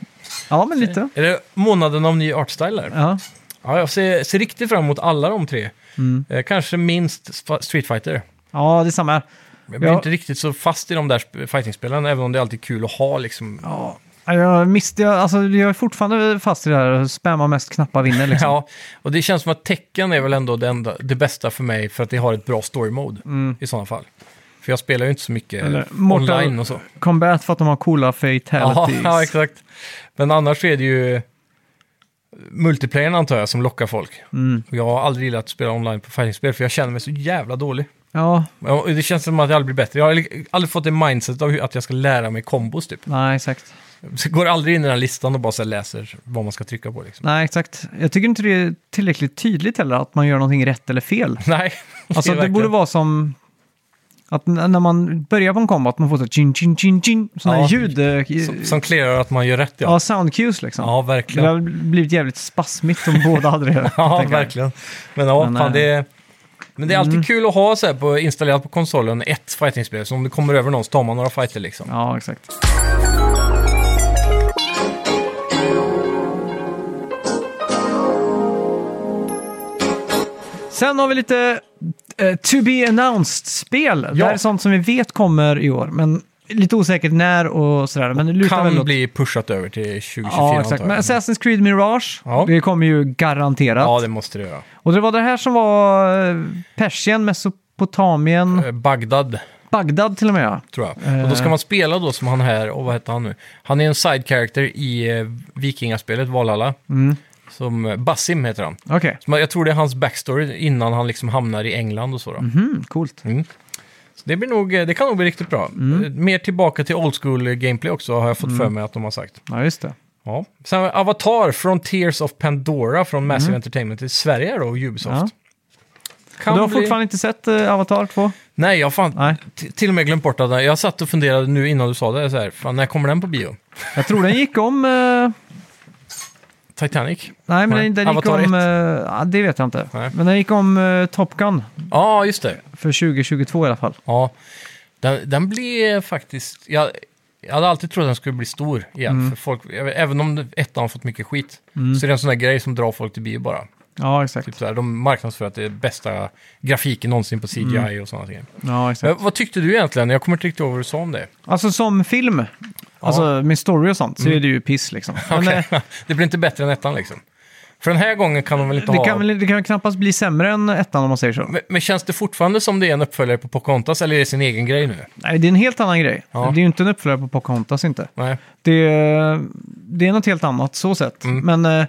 Ja, men lite.
är det månaden av ny art style där?
Ja,
Ja, jag ser, ser riktigt fram emot alla de tre.
Mm.
Eh, kanske minst Fa- Street Fighter.
ja det är samma här.
Jag blir
Ja.
inte riktigt så fast i de där sp- fightingspelen, även om det är alltid kul att ha liksom.
Ja, jag misste, jag, alltså jag är fortfarande fast i det här, spamma mest knappar vinner liksom.
<laughs> Ja, och det känns som att tecken är väl ändå det, enda, det bästa för mig för att det har ett bra story mode i sådana fall. För jag spelar ju inte så mycket
Mm. Eller
eh,
Mortal-
online och så.
Combat för att de har coola
Ja,
fatalities.
<laughs> ja, exakt. Men annars är det ju multiplayern antar jag som lockar folk.
Mm.
Och jag har aldrig gillat att spela online på fightingspel för jag känner mig så jävla dålig.
ja,
Ja, och Det känns som att jag aldrig blir bättre. Jag har aldrig fått det mindset av hur- att jag ska lära mig kombos typ.
nej exakt.
Så jag går aldrig in i den här listan och bara så här läser vad man ska trycka på liksom. <laughs>
Nej, exakt. Jag tycker inte det är tillräckligt tydligt heller att man gör någonting rätt eller fel.
Nej.
Alltså
är
det
verkligen-
borde vara som att n- när man börjar på en kombo att man får så chin chin chin chin sådana
Ja,
ljud. eh,
Som, som clearar att man gör rätt ja.
ja, sound cues liksom.
Ja,
det
verkligen.
har blivit jävligt spasmigt om båda hade det.
<laughs> Ja,
tänker jag.
verkligen. Men ja,
Men,
fan,
eh, mm.
det är... Men det är alltid kul att ha så här på, installerat på konsolen ett fightingspel. Så om det kommer över någon så tar man några fighter liksom.
Ja, exakt. Sen har vi lite eh, to be announced-spel. Det
Ja.
här är sånt som vi vet kommer i år, men lite osäkert när och sådär. Men det lutar väl
Kan
åt-
bli pushat över till 2024
Ja,
antar
exakt.
jag.
Men Assassin's Creed Mirage,
Ja.
det kommer ju garanterat.
Ja, det måste det göra.
Och det var det här som var eh, Persien, Mesopotamien,
Eh, Bagdad,
Bagdad till och med. ja.
tror jag. Och
Eh.
då ska man spela då som han här, och vad heter han nu? Han är en side character i eh, vikingaspelet Valhalla.
Mm.
Som eh, Basim heter han.
Okej,
Så man- Jag tror det är hans backstory innan han liksom hamnar i England och så då.
mm, coolt.
Så det, blir nog, eh, det kan nog bli riktigt bra.
Mm.
Eh, Mer tillbaka till old school eh, gameplay också har jag fått för mig att de har sagt.
Ja, just det.
Ja. Sen har vi Avatar, Frontiers of Pandora från Massive Entertainment i Sverige då, och
Mm. Ja.
Ubisoft. Kan
Du har
bli-
fortfarande inte sett eh, Avatar 2?
Nej, jag har fan
Nej.
t- till och med glömt bort att den- jag satt och funderade nu innan du sa det så här, fan när kommer den på bio?
Jag tror den gick om... eh,
Titanic?
nej, men
Nej.
den, den gick
Avatar
om...
ett.
eh, ja, det vet jag inte.
Nej.
Men den gick om eh, Top Gun
Ja, just det.
för 2022 i alla fall.
Ja, den, den blev faktiskt... Jag, jag hade alltid trott att den skulle bli stor igen.
Mm.
För folk, även om ettan har fått mycket skit så är det en sån där grej som drar folk till bio bara.
Ja, exakt.
Typ så här, de marknadsför att det är bästa grafiken någonsin på CGI
Mm.
och sådana grejer.
Ja, exakt.
Men vad tyckte du egentligen? Jag kommer inte riktigt ihåg vad du sa om det.
Alltså som film, alltså med story och sånt, så
Mm.
är det ju piss liksom. Men, eh,
<laughs> det blir inte bättre än ettan liksom. För den här gången kan de väl inte
det,
ha...
kan väl, det kan väl knappast bli sämre än ettan om man säger så.
Men, men känns det fortfarande som det är en uppföljare på Pocahontas eller är det sin egen grej nu?
Nej, det är en helt annan grej.
Ja.
Det är ju inte en uppföljare på Pocahontas inte.
Nej.
Det, det är något helt annat så sett.
Mm.
Men eh,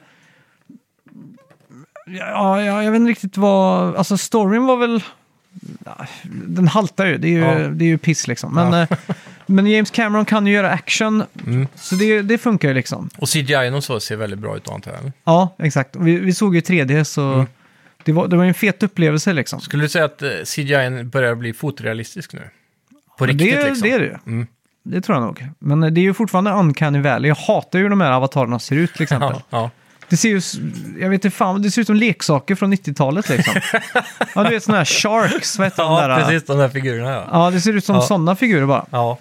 ja, ja, jag vet inte riktigt vad... Alltså storyn var väl... ja, Den haltar ju. Det är ju,
Ja.
det är ju piss liksom. Men, eh, men James Cameron kan ju göra action.
Mm.
Så det, det funkar ju liksom.
Och CGI och så ser väldigt bra ut antar jag. eller?
Ja, exakt. Vi, vi såg ju 3D så...
Mm.
Det var, det var ju en fet upplevelse liksom.
Skulle du säga att eh, CGI börjar bli fotorealistisk nu? På
Men
riktigt
det,
liksom?
det är det ju. Det tror jag nog. Men eh, det är ju fortfarande uncanny valley. Jag hatar ju hur de här avatarerna ser
<laughs>
ut till exempel.
Ja, ja.
Det ser ju, s- jag vet inte fan, det ser ut som leksaker från 90-talet
<laughs>
liksom. ja, du vet sådana här sharks, vad heter de
ja
där?
precis. De där figurerna ja.
Ja, det ser ut som
Ja.
sådana figurer bara.
Ja,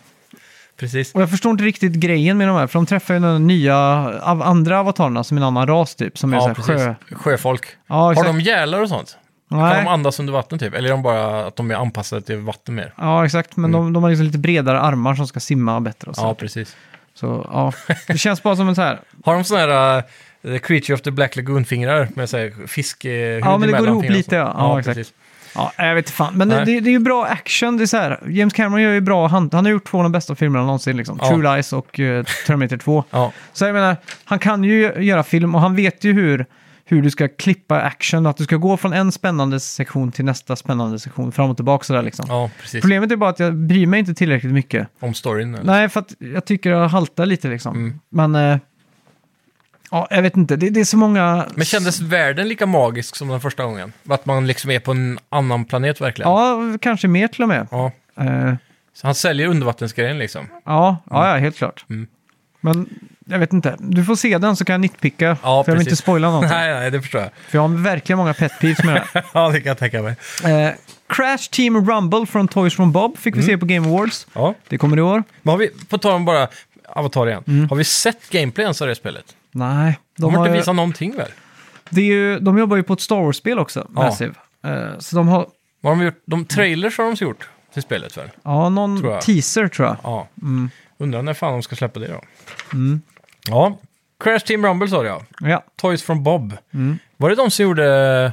precis.
Och jag förstår inte riktigt grejen med de här, för de träffar ju de nya, av andra avatarerna som är en annan ras typ, som är så
Ja,
här sjö...
precis. Sjöfolk.
Ja,
Har
exakt.
de gälar och sånt? Kan
Nej.
de andas under vatten typ? Eller är de bara att de är anpassade till vatten mer?
Ja, exakt, men de, de har liksom lite bredare armar som ska simma bättre och så.
Mm. Ja, precis.
Så ja, det känns bara som en så här...
Har de sådana här eh, Creature of the Black Lagoon-fingrar med så här eh, fiskhud
Ja, men det går
emellan
ihop
fingrarna och
lite,
sånt?
ja. Ja, exakt.
precis.
Ja, jag vet inte fan. Men det,
Nej.
det, är ju bra action. Det är så här, James Cameron gör ju bra, han, han har gjort två av de bästa filmerna någonsin, liksom.
Ja.
True Lies och eh, Terminator 2.
Ja,
Så jag menar, han kan ju göra film och han vet ju hur hur du ska klippa action, att du ska gå från en spännande sektion till nästa spännande sektion, fram och tillbaka sådär liksom.
Ja, precis.
Problemet är bara att jag bryr mig inte tillräckligt mycket.
Om storyn. Eller?
Nej, för att jag tycker jag haltar lite liksom.
Mm.
Men, eh, ja, jag vet inte, det, det är så många...
Men kändes världen lika magisk som den första gången? Att man liksom är på en annan planet verkligen?
Ja, kanske mer till och med.
ja.
Eh,
Så han säljer undervattensgrejen liksom?
Ja, ja, ja helt klart.
Mm.
Men jag vet inte, du får se den så kan jag nitpicka. för jag vill
precis.
inte spoila någonting.
<laughs> Nej, nej, det förstår jag.
För jag har verkligen många pet peeves med det här.
ja, det kan jag tänka mig.
eh, Crash Team Rumble från Toys from Bob fick vi
Mm.
se på Game Awards.
Ja.
Det kommer i år.
Men har vi, på tal om bara Avatar igen,
Mm.
har vi sett gameplay ens av det spelet?
Nej,
De har, inte
ju-
visat någonting väl?
det är ju, de jobbar ju på ett Star Wars-spel också,
Ja.
Massive. Eh, så de har,
Vad har de gjort? De trailers har de gjort till spelet väl?
ja, någon
Tror jag.
teaser tror jag.
Ja.
Mm.
Undrar när fan de ska släppa det då. Ja. Crash Team Rumble sa du ja.
Ja,
Toys from Bob. Var det de som gjorde
Mm.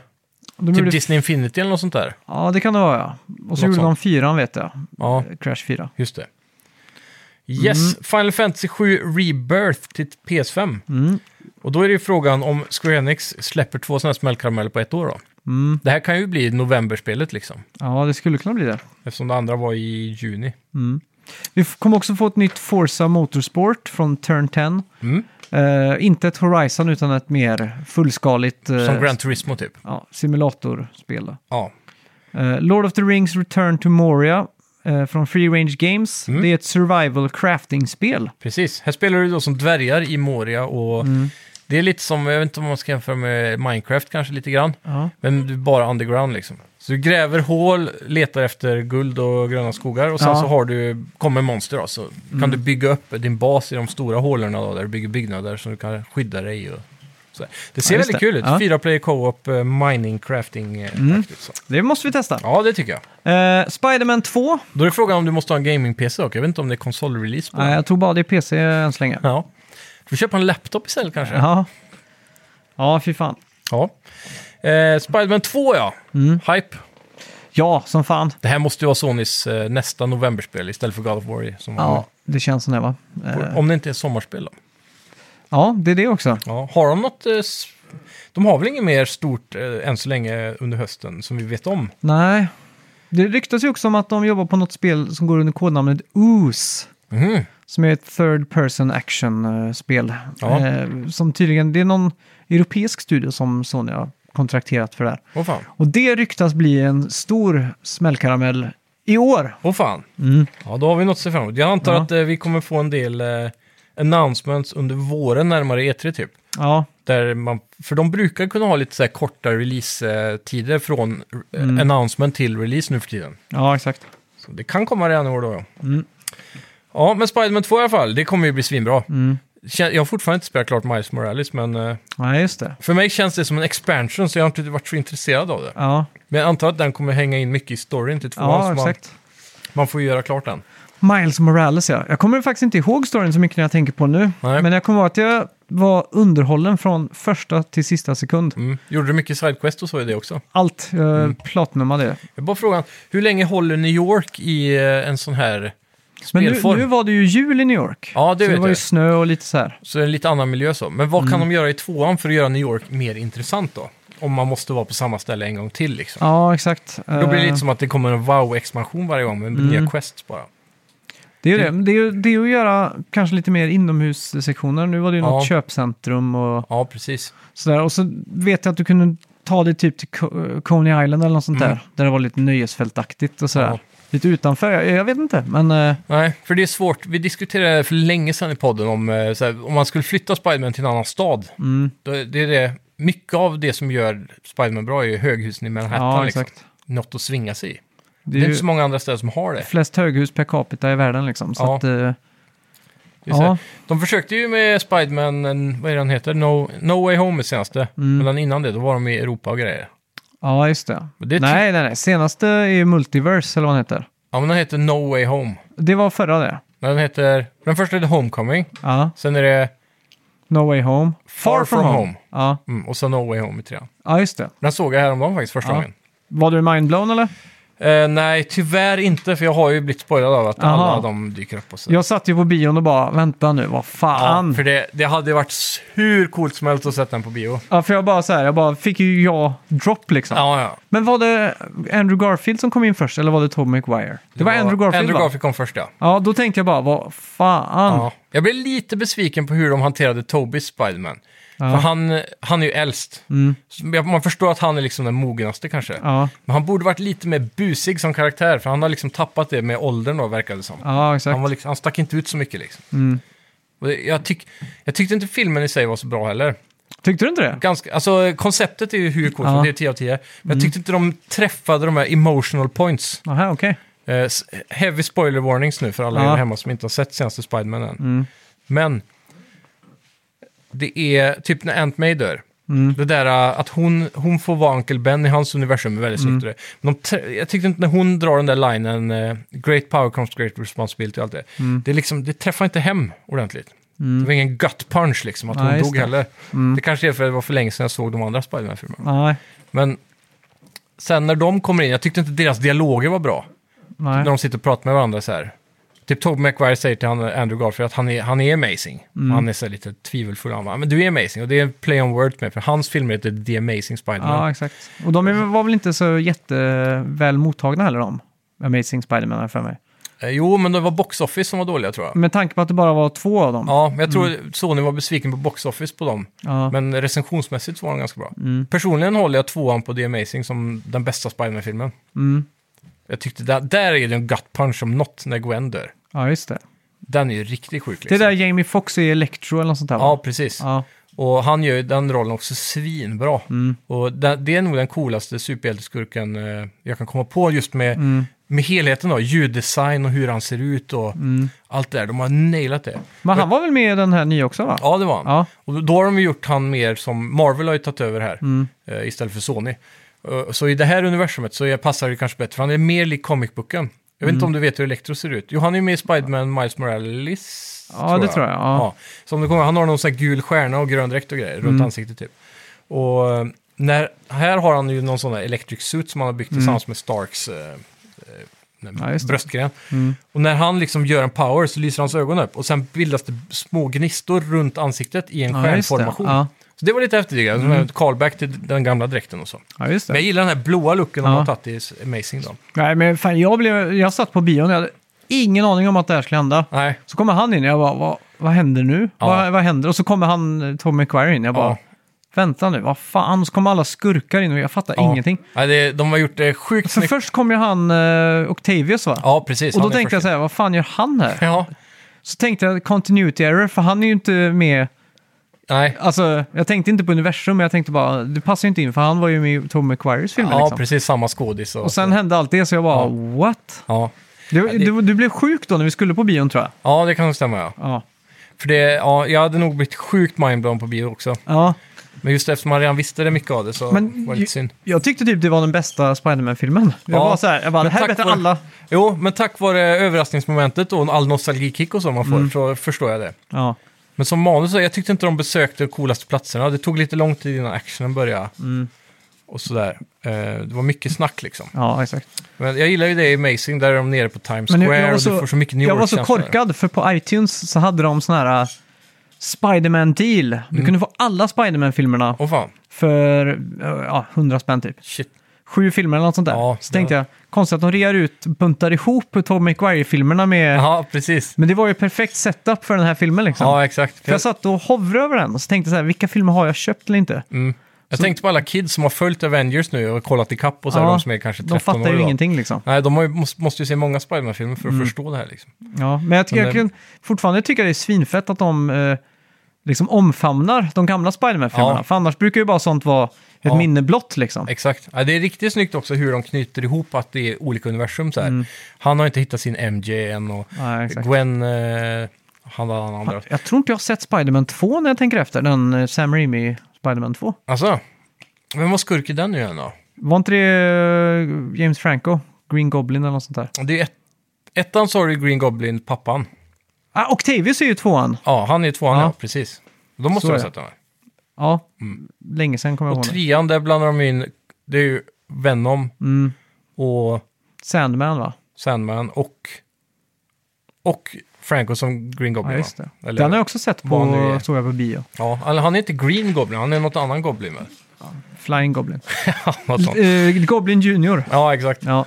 de
typ
gjorde,
Disney Infinity eller något sånt där?
ja, det kan det vara ja. Och så
Något
gjorde de
sånt.
fyran vet jag. Eh,
Ja,
Crash 4.
just det. Yes, Final Fantasy 7 Rebirth till PS5. Och då är det ju frågan om Square Enix släpper två sådana här smällkarameller på ett år då.
Mm.
Det här kan ju bli novemberspelet liksom.
Ja, det skulle kunna bli det.
Eftersom det andra var i juni.
Vi f- kommer också få ett nytt Forza Motorsport från Turn 10.
Mm.
Eh, inte ett Horizon utan ett mer fullskaligt eh,
Som Gran Turismo typ.
ja, simulatorspel. då.
Ja.
Eh, Lord of the Rings Return to Moria eh, från Free Range Games.
Mm.
Det är ett survival crafting-spel.
Precis. Här spelar du då som dvärgar i Moria och det är lite som, jag vet inte om man ska jämföra med Minecraft kanske lite grann.
Ja.
Men du är bara underground liksom. Så du gräver hål, letar efter guld och gröna skogar och sen
Ja. Mm.
så har du, kommer monster då, så kan du bygga upp din bas i de stora hålen då, där du bygger byggnader som du kan skydda dig i. Och så där. det ser
Ja, just
väldigt
det.
kul ut.
Ja. Mm.
Fyra player co-op, eh, mining, crafting. eh, aktigt så.
Det måste vi testa.
Ja, det tycker jag.
Eh, Spider-Man 2.
Då är frågan om du måste ha en gaming-PC dock. Jag vet inte om det är konsolrelease på
Nej,
den.
jag tog bara det i PC än så länge.
Ja. Du får köpa en laptop istället kanske?
Ja. ja, fy fan.
Ja. Eh, Spiderman 2 ja.
Mm.
Hype.
Ja, som fan.
Det här måste ju vara Sonys eh, nästa novemberspel istället för God of War. Som
Ja, det känns som det va?
var-
Eh,
Om det inte är ett sommarspel då.
ja, det är det också.
Ja. Har de något... Eh, s- de har väl inget mer stort eh, än så länge under hösten som vi vet om?
Nej. Det ryktas ju också om att de jobbar på något spel som går under kodnamnet Ooze.
Mhm.
Som är ett third person action-spel.
Ja.
Eh, som tydligen, det är någon europeisk studio som Sony har kontrakterat för det här.
Åh fan.
Och det ryktas bli en stor smällkaramell i år.
Åh fan. Ja, då har vi något att se fram emot. Jag antar
Ja.
att eh, vi kommer få en del eh, announcements under våren närmare E3 typ.
Ja,
Där man, för de brukar kunna ha lite så här korta release-tider från eh,
Mm.
announcement till release nu för tiden.
ja exakt.
Så det kan komma redan i år då, ja.
Mm.
Ja, men Spiderman 2 i alla fall, det kommer ju bli svinbra. Kän- Jag har fortfarande inte spelat klart Miles Morales, men eh,
Mm. Ja, just det.
för mig känns det som en expansion, så jag har inte varit så intresserad av det.
Ja,
Men jag antar att den kommer hänga in mycket i storyn till tvåan,
ja
så man,
exakt.
man får ju göra klart den.
Miles Morales ja. Jag kommer faktiskt inte ihåg storyn så mycket när jag tänker på nu.
Nej.
Men jag kommer ihåg att jag var underhållen från första till sista sekund.
Mm. Gjorde du mycket sidequest och så i det också?
Allt. Jag
Mm.
platinumade det.
Jag bara frågan, hur länge håller New York i eh, en sån här
Men nu,
spelform?
nu var det ju jul i New York.
Ja, det
så
vet
det var ju
jag.
snö och lite så här.
Så det är en lite annan miljö så. Men vad
Mm.
kan de göra i tvåan för att göra New York mer intressant då? Om man måste vara på samma ställe en gång till liksom.
Ja, exakt.
Då blir det
Eh, Mm.
lite som att det kommer en wow-expansion varje gång med nya quests bara.
det är ju det. Men Det är, ju- det är ju att göra kanske lite mer inomhussektioner. Nu var det ju
Ja.
något köpcentrum och
Ja, precis.
sådär. Och så vet jag att du kunde ta dig typ till Co- Coney Island eller något sånt där. Där det var lite nöjesfältaktigt och sådär.
Mm. Ja.
Lite utanför, jag, jag vet inte. Men eh,
Nej, för det är svårt. Vi diskuterade för länge sedan i podden om eh, så här, om man skulle flytta Spiderman till en annan stad.
mm.
Då, är- det är det. Mycket av det som gör Spiderman bra är ju höghusen i Manhattan.
ja,
liksom.
exakt.
Något att svinga sig i.
Det
Det
är
är
ju
inte så många andra städer som har det.
flest höghus per capita i världen liksom. Så
Ja.
att, eh,
det är så här.
Ja.
De försökte ju med Spiderman, en- vad är den heter? No, no Way Home är senaste.
Mm.
Men den innan det, då var de i Europa och grejer.
ja, just det.
Men det är typ- ty-
nej, nej, nej. Senaste är ju Multiverse eller vad den heter.
Ja, men den heter No Way Home.
Det var förra det.
Den heter... Den första heter Homecoming.
Ja.
Sen är det
No Way Home.
Far From Home.
Ja.
Mm, och sen No Way Home i trean.
ja, just det.
Den såg jag häromdagen faktiskt första
Ja.
gången.
Var du mindblown eller?
Eh, nej, tyvärr inte, för jag har ju blivit spoilad av att
Aha.
alla de dyker upp. Och så.
Jag satt ju på bion och bara, vänta nu, vad fan.
Ja, för det, det hade varit hur coolt som helst att sätta den på bio.
Ja, för jag bara så här, jag bara fick ju ja-drop liksom.
Ja, ja.
Men var det Andrew Garfield som kom in först, eller var det Tom McGuire? Det var Andrew Garfield,
Andrew
va?
Garfield kom först, ja.
Ja, då tänkte jag bara, vad fan.
ja. Jag blev lite besviken på hur de hanterade Tobys Spiderman. För han, han är ju äldst. Så jag- Man förstår att han är liksom den mognaste kanske.
Mm. Ja,
Men han borde varit lite mer busig som karaktär, för han har liksom tappat det med åldern då, verkar det som.
ja exakt. Mm.
Han, var liksom, han stack inte ut så mycket liksom. Och det- jag, tyck, jag tyckte inte filmen i sig var så bra heller.
Tyckte du inte det?
Ganska, alltså, konceptet är ju hur coolt,
Ja. Mm.
som det är 10 av 10. Men jag tyckte inte de träffade de här emotional points.
Aha, okej.
Eh, s- heavy spoiler warnings nu för alla
Ja. Mm.
er hemma som inte har sett senaste Spiderman än. Men det är typ när Ant-May dör.
Mm.
Det där eh, att hon, hon får vara Uncle Ben i hans universum är väldigt
Mm.
snyggt. och det. Men de, trä- jag tyckte inte när hon drar den där linen, eh, great power comes great responsibility och allt det.
Mm.
Det, är liksom, det träffar inte hem ordentligt. Det var ingen gut punch liksom, att
Nej,
hon
Mm. just det.
dog
Mm.
heller. Det kanske är för att det var för länge sedan jag såg de andra Spiderman-filmerna.
Nej,
Men sen när de kommer in, jag tyckte inte deras dialoger var bra
nej.
när de sitter och pratar med varandra så här. Typ Tobey Maguire säger till han, Andrew Garfield att han är, han är amazing.
Mm.
Och Han är så här lite tvivelfull. Han bara, men du är amazing. Och det är en play on words med, för hans filmer heter The Amazing Spider-Man.
Ja, exakt. Och de är- var väl inte så jätteväl mottagna heller de? Amazing Spider-Man har jag för mig.
Eh, Jo, men det var Box Office som var dåliga tror jag.
Med tanke på att det bara var två av dem.
Ja, men jag tror Sony var besviken på Box Office på dem.
Mm. Ja. Mm,
Men recensionsmässigt så var de ganska bra. Personligen håller jag tvåan på The Amazing som den bästa Spider-Man-filmen.
Mm.
Jag tyckte där, där är det en gut punch som något när Gwen dör.
ja, just det.
Den är ju riktigt sjuk.
Det är
Liksom.
där Jamie Foxx är Electro eller något sånt där va?
Ja, precis.
ja. mm,
Och han gör ju den rollen också svinbra. Och det, det är nog den coolaste superhjälteskurken eh, jag kan komma på just med,
Mm.
med helheten då. Ljuddesign och hur han ser ut och
Mm.
allt det där. De har nailat det.
Men han var väl med i den här nya också va?
Ja, det var han.
Ja.
Och då har de ju gjort han mer som Marvel har ju tagit över här
mm,
eh, istället för Sony. Eh, Så i det här universumet så är- passar det kanske bättre, för han är mer lik comicbooken. Jag
Mm.
vet inte om du vet hur Electro ser ut. Jo, han är ju med i Spiderman Miles Morales.
Ja, det tror jag, ja.
Så om du kommer, han har någon sån här gul stjärna och grön dräkt och grejer
Mm.
runt ansiktet typ. Och eh, när, här har han ju någon sån här electric suit som han har byggt tillsammans med Starks eh, eh,
Mm. Ja, just det.
bröstgren.
mm.
Och när han liksom gör en power så lyser hans ögon upp och sen bildas det små gnistor runt ansiktet i en
Ja, just det.
stjärnformation.
Ja.
Så det var lite häftigt, tycker jag.
Mm.
Som en callback till den gamla dräkten och så.
Ja, just
Men jag
det.
gillar den här blåa looken de
Ja.
har tagit i Amazing då.
Nej, men fan, jag, blev, jag satt på bion och jag hade ingen aning om att det här skulle hända.
Nej,
Så kommer han in och jag bara, vad, vad händer nu?
Ja.
Vad, vad händer? Och så kommer han, eh, Tom McQuarrie in. Jag bara,
Ja.
vänta nu, vad fan? Så kommer alla skurkar in och jag fattar
ja.
ingenting. Alltså,
Nej, det, de har gjort det sjukt
För
snyggt.
först kom ju han, eh, Octavius va?
Ja, precis.
och då
han är
tänkte jag
först.
så här, vad fan gör han här?
Ja,
Så tänkte jag continuity error, för han är ju inte med.
nej.
Alltså, jag tänkte inte på universum, men jag tänkte bara, det passar ju inte in, för han var ju med i Tom McQuarries filmer.
Ja,
liksom.
precis samma skådis. Och,
Och sen hände allt det, så jag bara, what?
ja.
Du,
det-
du, du blev sjuk då när vi skulle på bion tror jag.
ja, det kan nog stämma ja.
Ja.
För det, ja, jag hade nog blivit sjukt mindblown på bio också.
ja.
Men just eftersom man redan visste det mycket av det så
Men
var det lite synd.
Jag tyckte typ det var den bästa Spiderman-filmen. Jag
Ja.
var så här, jag bara,
Men
det här är
tack
bättre
vare-
alla.
Jo, men tack vare överraskningsmomentet och all nostalgikick och så man får
Mm.
så förstår jag det.
Ja.
Men som manus, så- jag tyckte inte de besökte de coolaste platserna. Det tog lite lång tid innan actionen började.
Mm.
Och sådär. Eh, Det var mycket snack liksom.
ja, exakt.
Men jag gillar ju det i Amazing, där är de nere på Times
Men jag- jag
Square
var
och
så-
du får så mycket New
jag var så
York-känsla där.
korkad, för på iTunes så hade de sån här äh, Spiderman deal. Du
Mm.
kunde få alla Spiderman-filmerna
Åh fan,
för äh, ja, 100 spänn typ.
shit.
Sju filmer eller något sånt där.
Ja,
så
det-
tänkte jag, konstigt att de rear ut, buntar ihop Tom McQuarrie-filmerna med...
Ja, precis.
Men det var ju perfekt setup för den här filmen liksom.
Ja, exakt.
För jag satt och hovrade över den och så tänkte jag så här, vilka filmer har jag köpt eller inte?
Jag tänkte på alla kids som har följt Avengers nu och kollat i kapp och så här,
Ja,
de som är kanske 13
De fattar
år
ju
idag.
ingenting Mm. liksom.
Nej, de har ju, måste, måste ju se många Spiderman-filmer för att förstå det här liksom.
Ja, men jag, tycker,
Men
jag
det-
kan fortfarande tycka det är svinfett att de eh, liksom omfamnar de gamla Spiderman-filmerna.
Ja.
För annars brukar ju bara sånt vara ett
Ja.
minne blott liksom.
Exakt. Ja, det är riktigt snyggt också hur de knyter ihop att det är olika universum så här.
Mm.
Han har inte hittat sin MJ än och
Ja, exakt.
Gwen, eh, han var den andra.
Jag tror inte jag har sett Spiderman 2 när jag tänker efter, den eh, Sam Raimi Spiderman 2.
Alltså, vem var skurk i den nu igen då?
Var inte det eh, James Franco? Green Goblin eller något sånt där?
Det är ett, ettan sa du Green Goblin, pappan.
Ah, Octavius är ju tvåan!
Ja, han är tvåan,
Ja.
ja. precis. Då måste
Så
du
är
ha
det.
sett den här.
Ja,
Mm.
länge sedan kommer jag
Och
ihåg. det.
trean, där blandar de in, det är ju Venom och
Mm. Sandman va?
Sandman och, och Franco som Green Goblin.
Ja, just
va?
det.
Eller,
Den har jag också sett
vad han nu
på,
är.
såg jag på bio.
ja, eller han är inte Green Goblin, han är något annan
<laughs>
Goblin väl?
Flying Goblin.
Ja, något sånt.
Eh, Goblin Junior.
Ja, exakt.
Ja.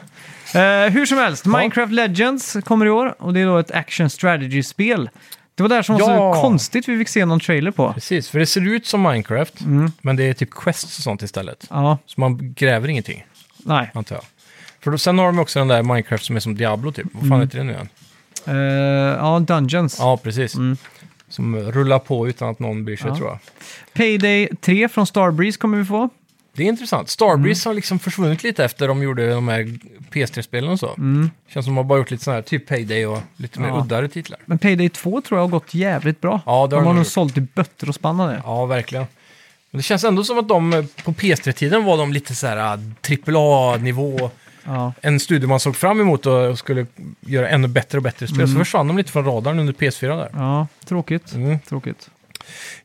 Eh, hur som helst, Minecraft Legends kommer i år och det är då ett action strategy-spel. Det var det här som var
Ja.
så konstigt vi fick se någon trailer på.
Precis, för det ser ut som Minecraft, men det är typ quests och sånt istället.
Mm. Ja,
Så man gräver ingenting,
nej.
antar jag. För då, sen har de också den där Minecraft som är som Diablo typ. Vad fan
Mm.
heter det nu igen?
Eh, ja, Dungeons.
Ja, precis. Som rullar på utan att någon bryr sig,
Mm. Ja.
tror jag.
Payday 3 från Starbreeze kommer vi få.
Det är intressant.
Mm.
Starbreeze har liksom försvunnit lite efter de gjorde de här PS3-spelen och så. Känns som de har bara gjort lite sådana här, typ Payday och lite mer
Mm. Ja.
uddare titlar.
Men Payday 2 tror jag har gått jävligt bra.
Ja, det har
de
den
har nog
gjort.
sålt i bötter och spann av det.
Ja, verkligen. Men det känns ändå som att de eh, på PS3-tiden var de lite så här AAA-nivå.
Ja.
En studio man såg fram emot och skulle göra ännu bättre och bättre spel. Så
Mm.
försvann de lite från radarn under PS4 där.
ja, tråkigt.
Mm.
Tråkigt.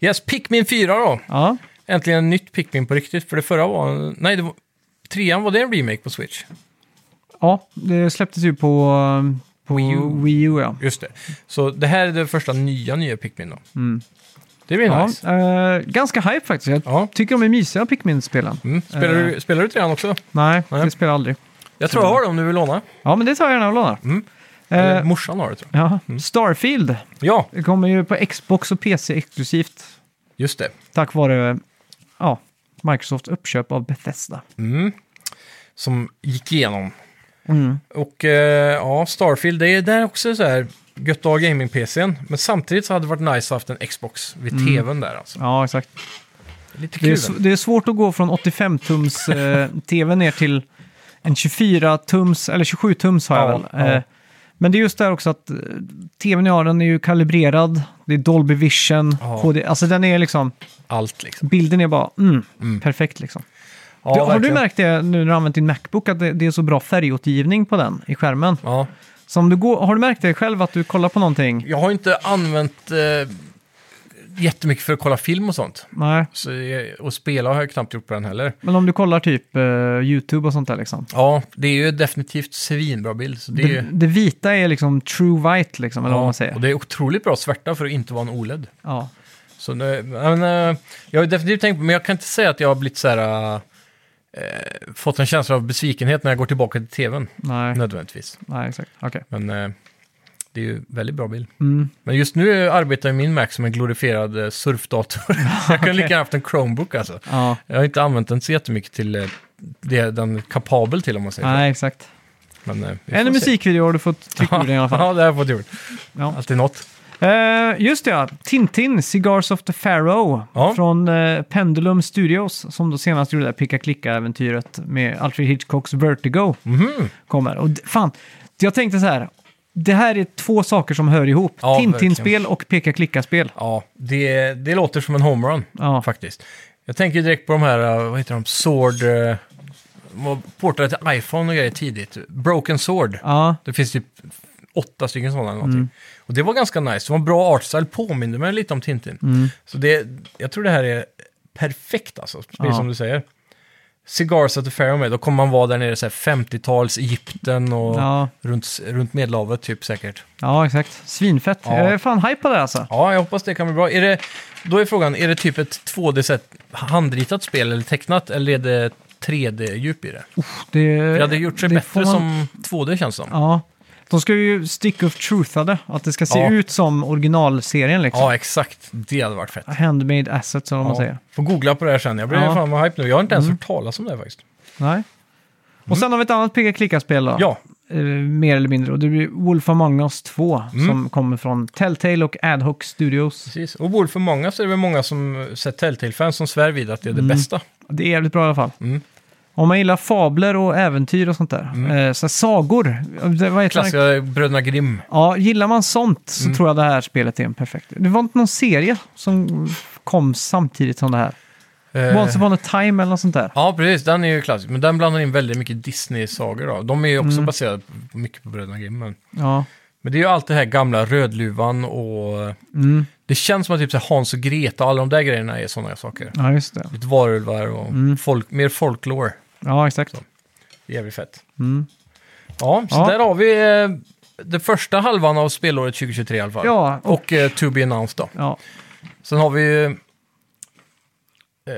Yes, Pikmin 4 då.
Ja,
Äntligen nytt Pikmin på riktigt. För det förra var... Nej, det var... Trean var det en remake på Switch.
ja det släpptes ju på, eh, på
Wii
Wii
U.
U. Wii U ja.
Just det. Så det här är det första nya, nya Pikmin då.
Mm.
Det blir
ja
nice.
eh, ganska hype faktiskt. Jag
Ja.
tycker de är mysiga, Pikmin-spelen.
Mm. Spelar,
Eh.
du, spelar du trean också?
Nej,
Nej.
det spelar jag aldrig.
Jag tror jag har det om du vill låna.
Ja, men det tar jag gärna och lånar.
Mm. Eller
Eh,
morsan har det tror jag.
ja. Starfield
Ja,
det kommer ju på Xbox och PC exklusivt
just det.
tack vare ja, Microsofts uppköp av Bethesda.
Mm. Som gick igenom.
Mm.
Och eh, ja, Starfield, det är där också så här gött att ha gaming-PCn. Men samtidigt så hade det varit nice att ha haft en Xbox vid tvn där alltså.
Ja, exakt.
Lite
Mm. Det är,
kul.
sv- det är svårt att gå från 85-tums eh, tv ner till en 24-tums, eller 27-tums har jag
Ja,
väl.
ja.
Eh, men det är just där också att eh, tvn jag har, den är ju kalibrerad, det är Dolby Vision,
Ja.
HD, alltså den är liksom,
Allt liksom.
bilden är bara mm, perfekt liksom.
Ja,
du, har du
verkligen.
märkt det nu när du har använt din Macbook, att det, det är så bra färgåtergivning på den i skärmen?
Ja.
Så om du går, har du märkt det själv att du kollar på någonting?
Jag har inte använt eh, jättemycket för att kolla film och sånt.
Nej.
Så, jag- och spela har jag knappt gjort på den heller.
Men om du kollar typ eh, YouTube och sånt där liksom.
Ja, det är ju definitivt svinbra bild. Så det är
Det,
ju,
det vita är liksom true white liksom, eller vad man
och
säger.
det är otroligt bra svärta för att inte vara en OLED.
Ja.
Så nu, men, eh, jag har ju definitivt tänkt på, men jag kan inte säga att jag har blivit så här, eh, fått en känsla av besvikenhet när jag går tillbaka till tvn,
Nej,
nödvändigtvis.
nej exakt. Okej.
Men eh, det är ju väldigt bra bild.
Mm.
Men just nu arbetar ju min Mac som en glorifierad eh, surfdator. <laughs> jag kan lika gärna haft en Chromebook alltså.
Ja.
Jag har inte använt den så jättemycket till eh, det den är kapabel till om man säger så.
Nej, exakt.
Men, eh, vi får se.
En musikvideo har du fått trycka ur dig i alla fall.
ja, det har jag fått gjort.
Ja.
Alltid något.
Eh, just det, ja. Tintin, Cigars of the Pharaoh
Ja.
från eh, Pendulum Studios som då senast gjorde det där picka-klicka-äventyret med Alfred Hitchcocks Vertigo.
Mhm.
kommer. Och d- fan, jag tänkte så här. Det här är två saker som hör ihop.
Ja,
Tintin-spel och peka-klicka-spel.
Ja, det, det låter som en homerun
Ja.
faktiskt. Jag tänker direkt på de här, eh, vad heter de, Sword... eh, vad Portade till iPhone och grejer tidigt. Broken Sword.
Ja,
Det finns typ åtta stycken sådana eller
Mm.
någonting. Och det var ganska nice. Det var en bra artstyle, påminner mig lite om Tintin.
Mm.
Så det, jag tror det här är perfekt alltså, precis
Ja.
som du säger. Cigars at the Pharaoh med, då kommer man vara där nere i så här 50-tals Egypten och
ja,
runt, runt Medelhavet typ säkert.
ja exakt. Svinfett.
Ja.
Jag är fan hype på det alltså.
Ja, jag hoppas det kan bli bra. Är det, då är frågan, är det typ ett 2D-set handritat spel eller tecknat eller är det 3D-djup i det?
Det,
Det hade gjort sig
det
bättre
får man-
som 2D känns som. Ja,
Ja. De ska ju stick of truthade. Att det ska se
Ja.
ut som originalserien liksom.
exakt. Det hade varit fett.
Handmade assets eller vad man
Ja.
säger.
Får googla på det här sen. Jag blir
Ja. Mm.
fan vad hype nu. Jag har inte ens hört talas om det här faktiskt.
Nej. Och sen har vi ett annat peka-klicka-spel då.
Mm. Ja,
Eh, mer eller mindre. Och det blir Wolf Among Us 2
Mm.
som kommer från Telltale och Ad Hoc Studios.
precis. Och borde för många så är det väl många som sett Telltale-fans som svär vid att det är
Mm.
det bästa.
Det är jävligt bra i alla fall.
Mm.
Om man gillar fabler och äventyr och sånt där. Eh, så här, sagor. Eh, det- Vad heter det?
Klassiska Bröderna Grimm.
Ja, gillar man sånt
Mm.
så tror jag det här spelet är en perfekt. Det var inte någon serie som kom samtidigt som det här.
Eh,
Once upon a time eller något sånt där.
Ja, precis. Den är ju klassisk. Men den blandar in väldigt mycket Disney-sagor. då. De är ju
Mm.
också baserade på- mycket på Bröderna Grimm. Men...
Ja,
Men det är ju allt det här gamla Rödluvan och... eh,
mm.
Det känns som att typ så här Hans och Greta och alla de där grejerna är sådana saker.
ja just det.
Lite
Mm.
varulvar och folk, mer folklore.
Ja, exakt.
Jävligt fett.
Mm.
Ja, så
Ja.
där har vi eh, det första halvan av spelåret 2023 i alla fall.
Ja,
och
och-
eh, To Be Announced då.
Ja,
Sen har vi ju... eh,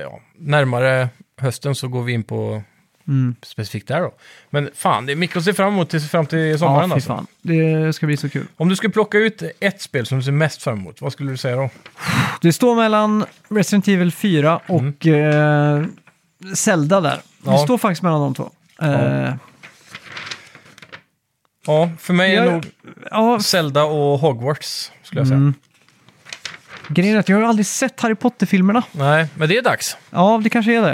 Ja, närmare hösten så går vi in på
Mm.
specifikt där då. Men fan, det är mycket att se fram emot till, fram till sommaren
ja fy
alltså.
fan. Det ska bli så kul.
Om du skulle plocka ut ett spel som du ser mest fram emot, vad skulle du säga då?
Det står mellan Resident Evil 4 och eh, Zelda där.
Mm. Ja.
Det står faktiskt mellan de två. Eh,
Ja, för mig är
Jag- Mm.
nog
ja,
Zelda och Hogwarts, skulle jag säga.
grejen är att jag har ju aldrig sett Harry Potter-filmerna.
Nej, men det är dags.
Ja, det kanske är det.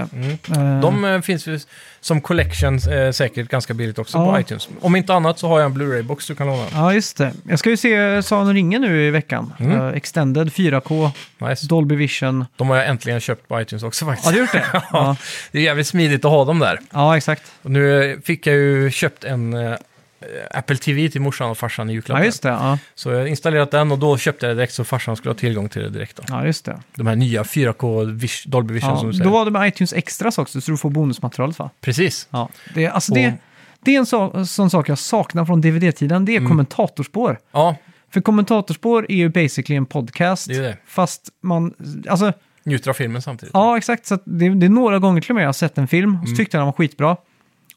Eh,
De eh, finns ju som collection eh, säkert ganska billigt också på
Ja.
iTunes. Om inte annat så har jag en Blu-ray-box du kan låna.
Ja, just det. Jag ska ju se Sagan om ringen nu i veckan.
Mm.
Eh, extended 4K,
Nice.
Dolby Vision.
De har jag äntligen köpt på iTunes också faktiskt.
Ja, du har gjort
<laughs>
det? ja.
Det är jävligt smidigt att ha dem där.
ja, exakt.
Och nu eh, fick jag ju köpt en eh, Apple TV till morsan och farsan i julklapp.
Ja, just det. Ja,
Så jag har installerat den och då köpte jag det direkt så farsan skulle ha tillgång till det direkt. Då.
ja just det.
De här nya 4K vis- Dolby Vision
Ja,
som du säger.
då var det med iTunes Extras också, så du får bonusmaterialet va?
Precis.
Ja. Det, alltså,
Och-
det, det är en så, sån sak jag saknar från DVD-tiden, det är
Mm.
kommentatorspår.
Ja,
För kommentatorspår är ju basically en podcast,
Det är det.
fast man... Alltså,
njuter av filmen samtidigt.
ja exakt. Så att det, det är några gånger till och med jag har sett en film och så tyckte jag den var skitbra.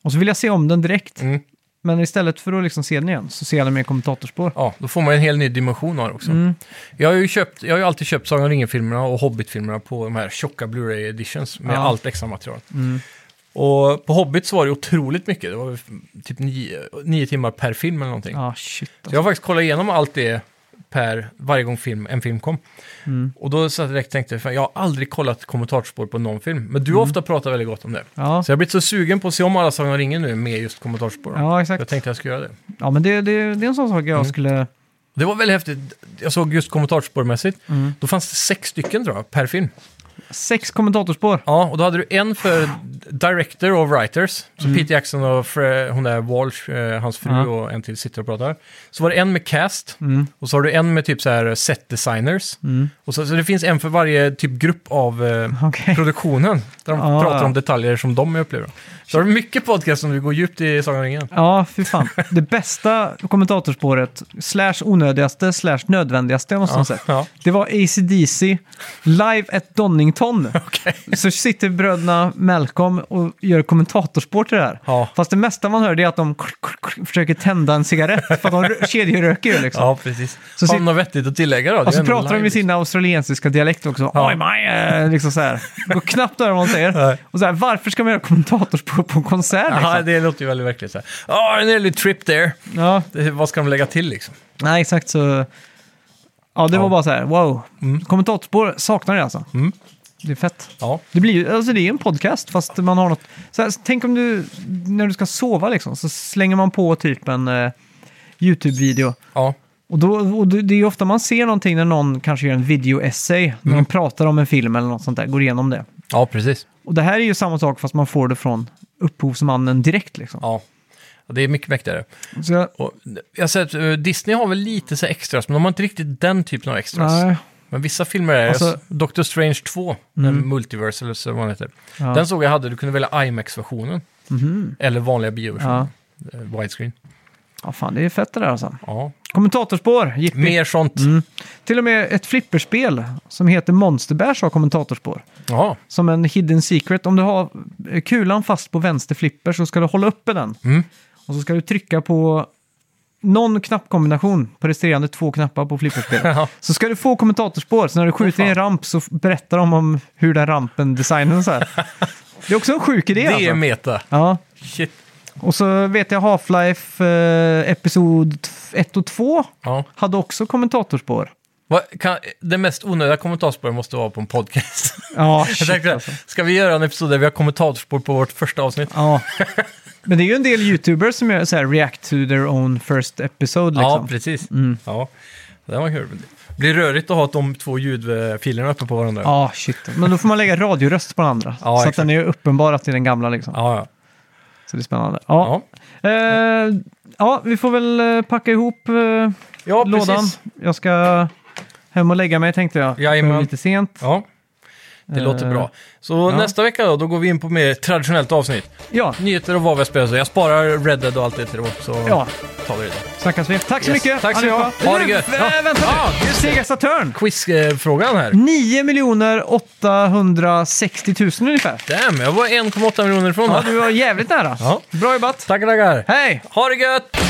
Och så vill jag se om den direkt.
Mm.
Men istället för att liksom se den igen så ser jag den med kommentatorspår.
Ja, då får man en hel ny dimension av det också.
Mm.
Jag, har ju köpt, jag har ju alltid köpt Sagan om ringen-filmerna och Hobbit-filmerna på de här tjocka Blu-ray editions med
Ja.
allt extra material.
Mm.
Och på Hobbit så var det otroligt mycket. Det var typ nio, nio timmar per film eller någonting.
Ja, shit. alltså.
Så jag har faktiskt kollat igenom allt det per varje gång film, en film kom.
Mm.
Och då satt jag direkt och tänkte, fan, jag har aldrig kollat kommentarspår på någon film. Men du har ofta pratat väldigt gott om det.
Mm. Ja,
Så jag har blivit så sugen på att se om alla Sagan om ringen nu med just kommentarspår.
ja exakt.
Jag Mm. tänkte jag skulle göra det.
Ja, men det, det, det är en sån sak jag skulle...
Det var väldigt häftigt. Jag såg just kommentatorspårmässigt. Då fanns det sex stycken tror jag, per film.
Mm. Sex kommentatorspår.
Ja, och då hade du en för director och writers. Så Peter Jackson och Fre- hon där Walsh, eh, hans fru
Mm. Ja. Mm.
och en till sitter och pratar. Så var det en med cast. Och så har du en med typ så här set designers. Och så, så det finns en för varje typ grupp av eh,
Okej. Ah.
produktionen. Där de
Ja.
pratar om detaljer som de upplever. Så har du mycket podcast som vi går djupt i Sagan om ringen.
Ja, fy fan. Det bästa kommentatorspåret, slash onödigaste, slash nödvändigaste jag måste
Ja,
ja. säga.
ja.
Det var AC/DC live at Donington.
<laughs> Okej.
Så sitter bröderna Malcolm och gör kommentatorspår till det här.
Ja.
Fast det mesta man hör det är att de krr, krr, krr, försöker tända en cigarett för att de rö- kedjeröker ju liksom.
Ja, precis.
Så
har
sit-
de något vettigt att tillägga då? Det är
Och så
ändå
pratar de
live,
med sin australiensiska dialekt också.
Ja.
Oj, my, eh, liksom så här. Går knappt att höra vad de
Nej.
säger. Och så här, varför ska man göra kommentatorspår på en konsert?
Ja,
Liksom?
det låter ju väldigt verkligt. Ja, oh, en early trip there.
Ja,
Det- Vad ska de lägga till liksom?
nej exakt så. Ja, det var bara så här, wow. Kommentatorspår saknar det alltså. Det är fett.
Ja,
Det blir ju, alltså det är en podcast fast man har något. Så här, tänk om du, när du ska sova liksom, så slänger man på typ en eh, YouTube-video.
ja,
Och, då, och det det är ju ofta man ser någonting när någon kanske gör en video-essay, när de pratar om en film eller något sånt där, går igenom det.
ja precis.
Och det här är ju samma sak fast man får det från upphovsmannen direkt liksom.
Ja. Ja, Det är mycket mäktigare.
Så jag,
Och jag har sett, eh, Disney har väl lite så här extras, men de har inte riktigt den typen av extras.
nej,
Men vissa filmer är
Alltså-
Doctor Strange 2, mm. Multiverse eller så vad den heter.
Ja. Mhm.
Den såg jag hade, du kunde välja IMAX-versionen. Eller vanliga bioversionen.
ja.
Eh, Widescreen.
ja, fan det är fett det där alltså.
Ja.
Kommentatorspår, jippi.
Mer sånt.
Mm. Till och med ett flipperspel som heter Monsterbärs har kommentatorspår.
Ja,
Som en hidden secret. Om du har eh, kulan fast på vänster flipper så ska du hålla uppe den.
Mm.
Och så ska du trycka på någon knappkombination på resterande två knappar på flipperspelet.
<laughs> Ja.
så ska du få kommentatorspår. Så när du skjuter i en ramp så f- berättar de om hur den rampen designades. så här.
<laughs>
Det är också en sjuk idé.
det är
alltså.
meta.
Ja.
Shit.
Och så vet jag Half-Life eh, Episod 1 och 2
Ja.
hade också kommentatorspår.
Vad, kan, det mest onödiga kommentarsspåret måste vara på en podcast.
Ja, <laughs>
Jag
shit,
tänkte,
alltså.
ska vi göra en episod där vi har kommentatorspår på vårt första avsnitt?
Ja. <laughs> Men det är ju en del YouTubers som gör så här react to their own first episode
Ja,
liksom.
precis. Ja, det var kul. Det blir rörigt att ha de två ljudfilerna uppe på varandra.
Ja, shit. Men då får man lägga radioröst på den andra.
Ja,
så
exakt.
att den är uppenbar att det är den gamla liksom.
ja, ja.
Så det är spännande. Ja.
ja.
Ja. ja, vi får väl eh, packa ihop eh,
ja
lådan.
precis.
Jag ska hem och lägga mig tänkte jag.
Jajamän.
Det är Lite sent.
Ja. Det låter bra. Så nästa vecka då, då går vi in på mer traditionellt avsnitt.
Ja,
Nyheter och vad vi spelar. Så jag sparar Red Dead och allt det till då, så
ja.
tar vi det då.
Snackas vi. Tack så
Yes.
mycket
Tack så mycket.
allihopa.
Ha det
Nu,
gött.
äh,
Ja.
Vänta
Ja,
nu! Sega Saturn!
Quizfrågan här.
9 860 000 ungefär.
Damn, jag var 1,8 miljoner ifrån.
Ja,
va?
du var jävligt nära.
Ja.
Bra jobbat!
Tackar, tackar.
Hej!
Ha det gött!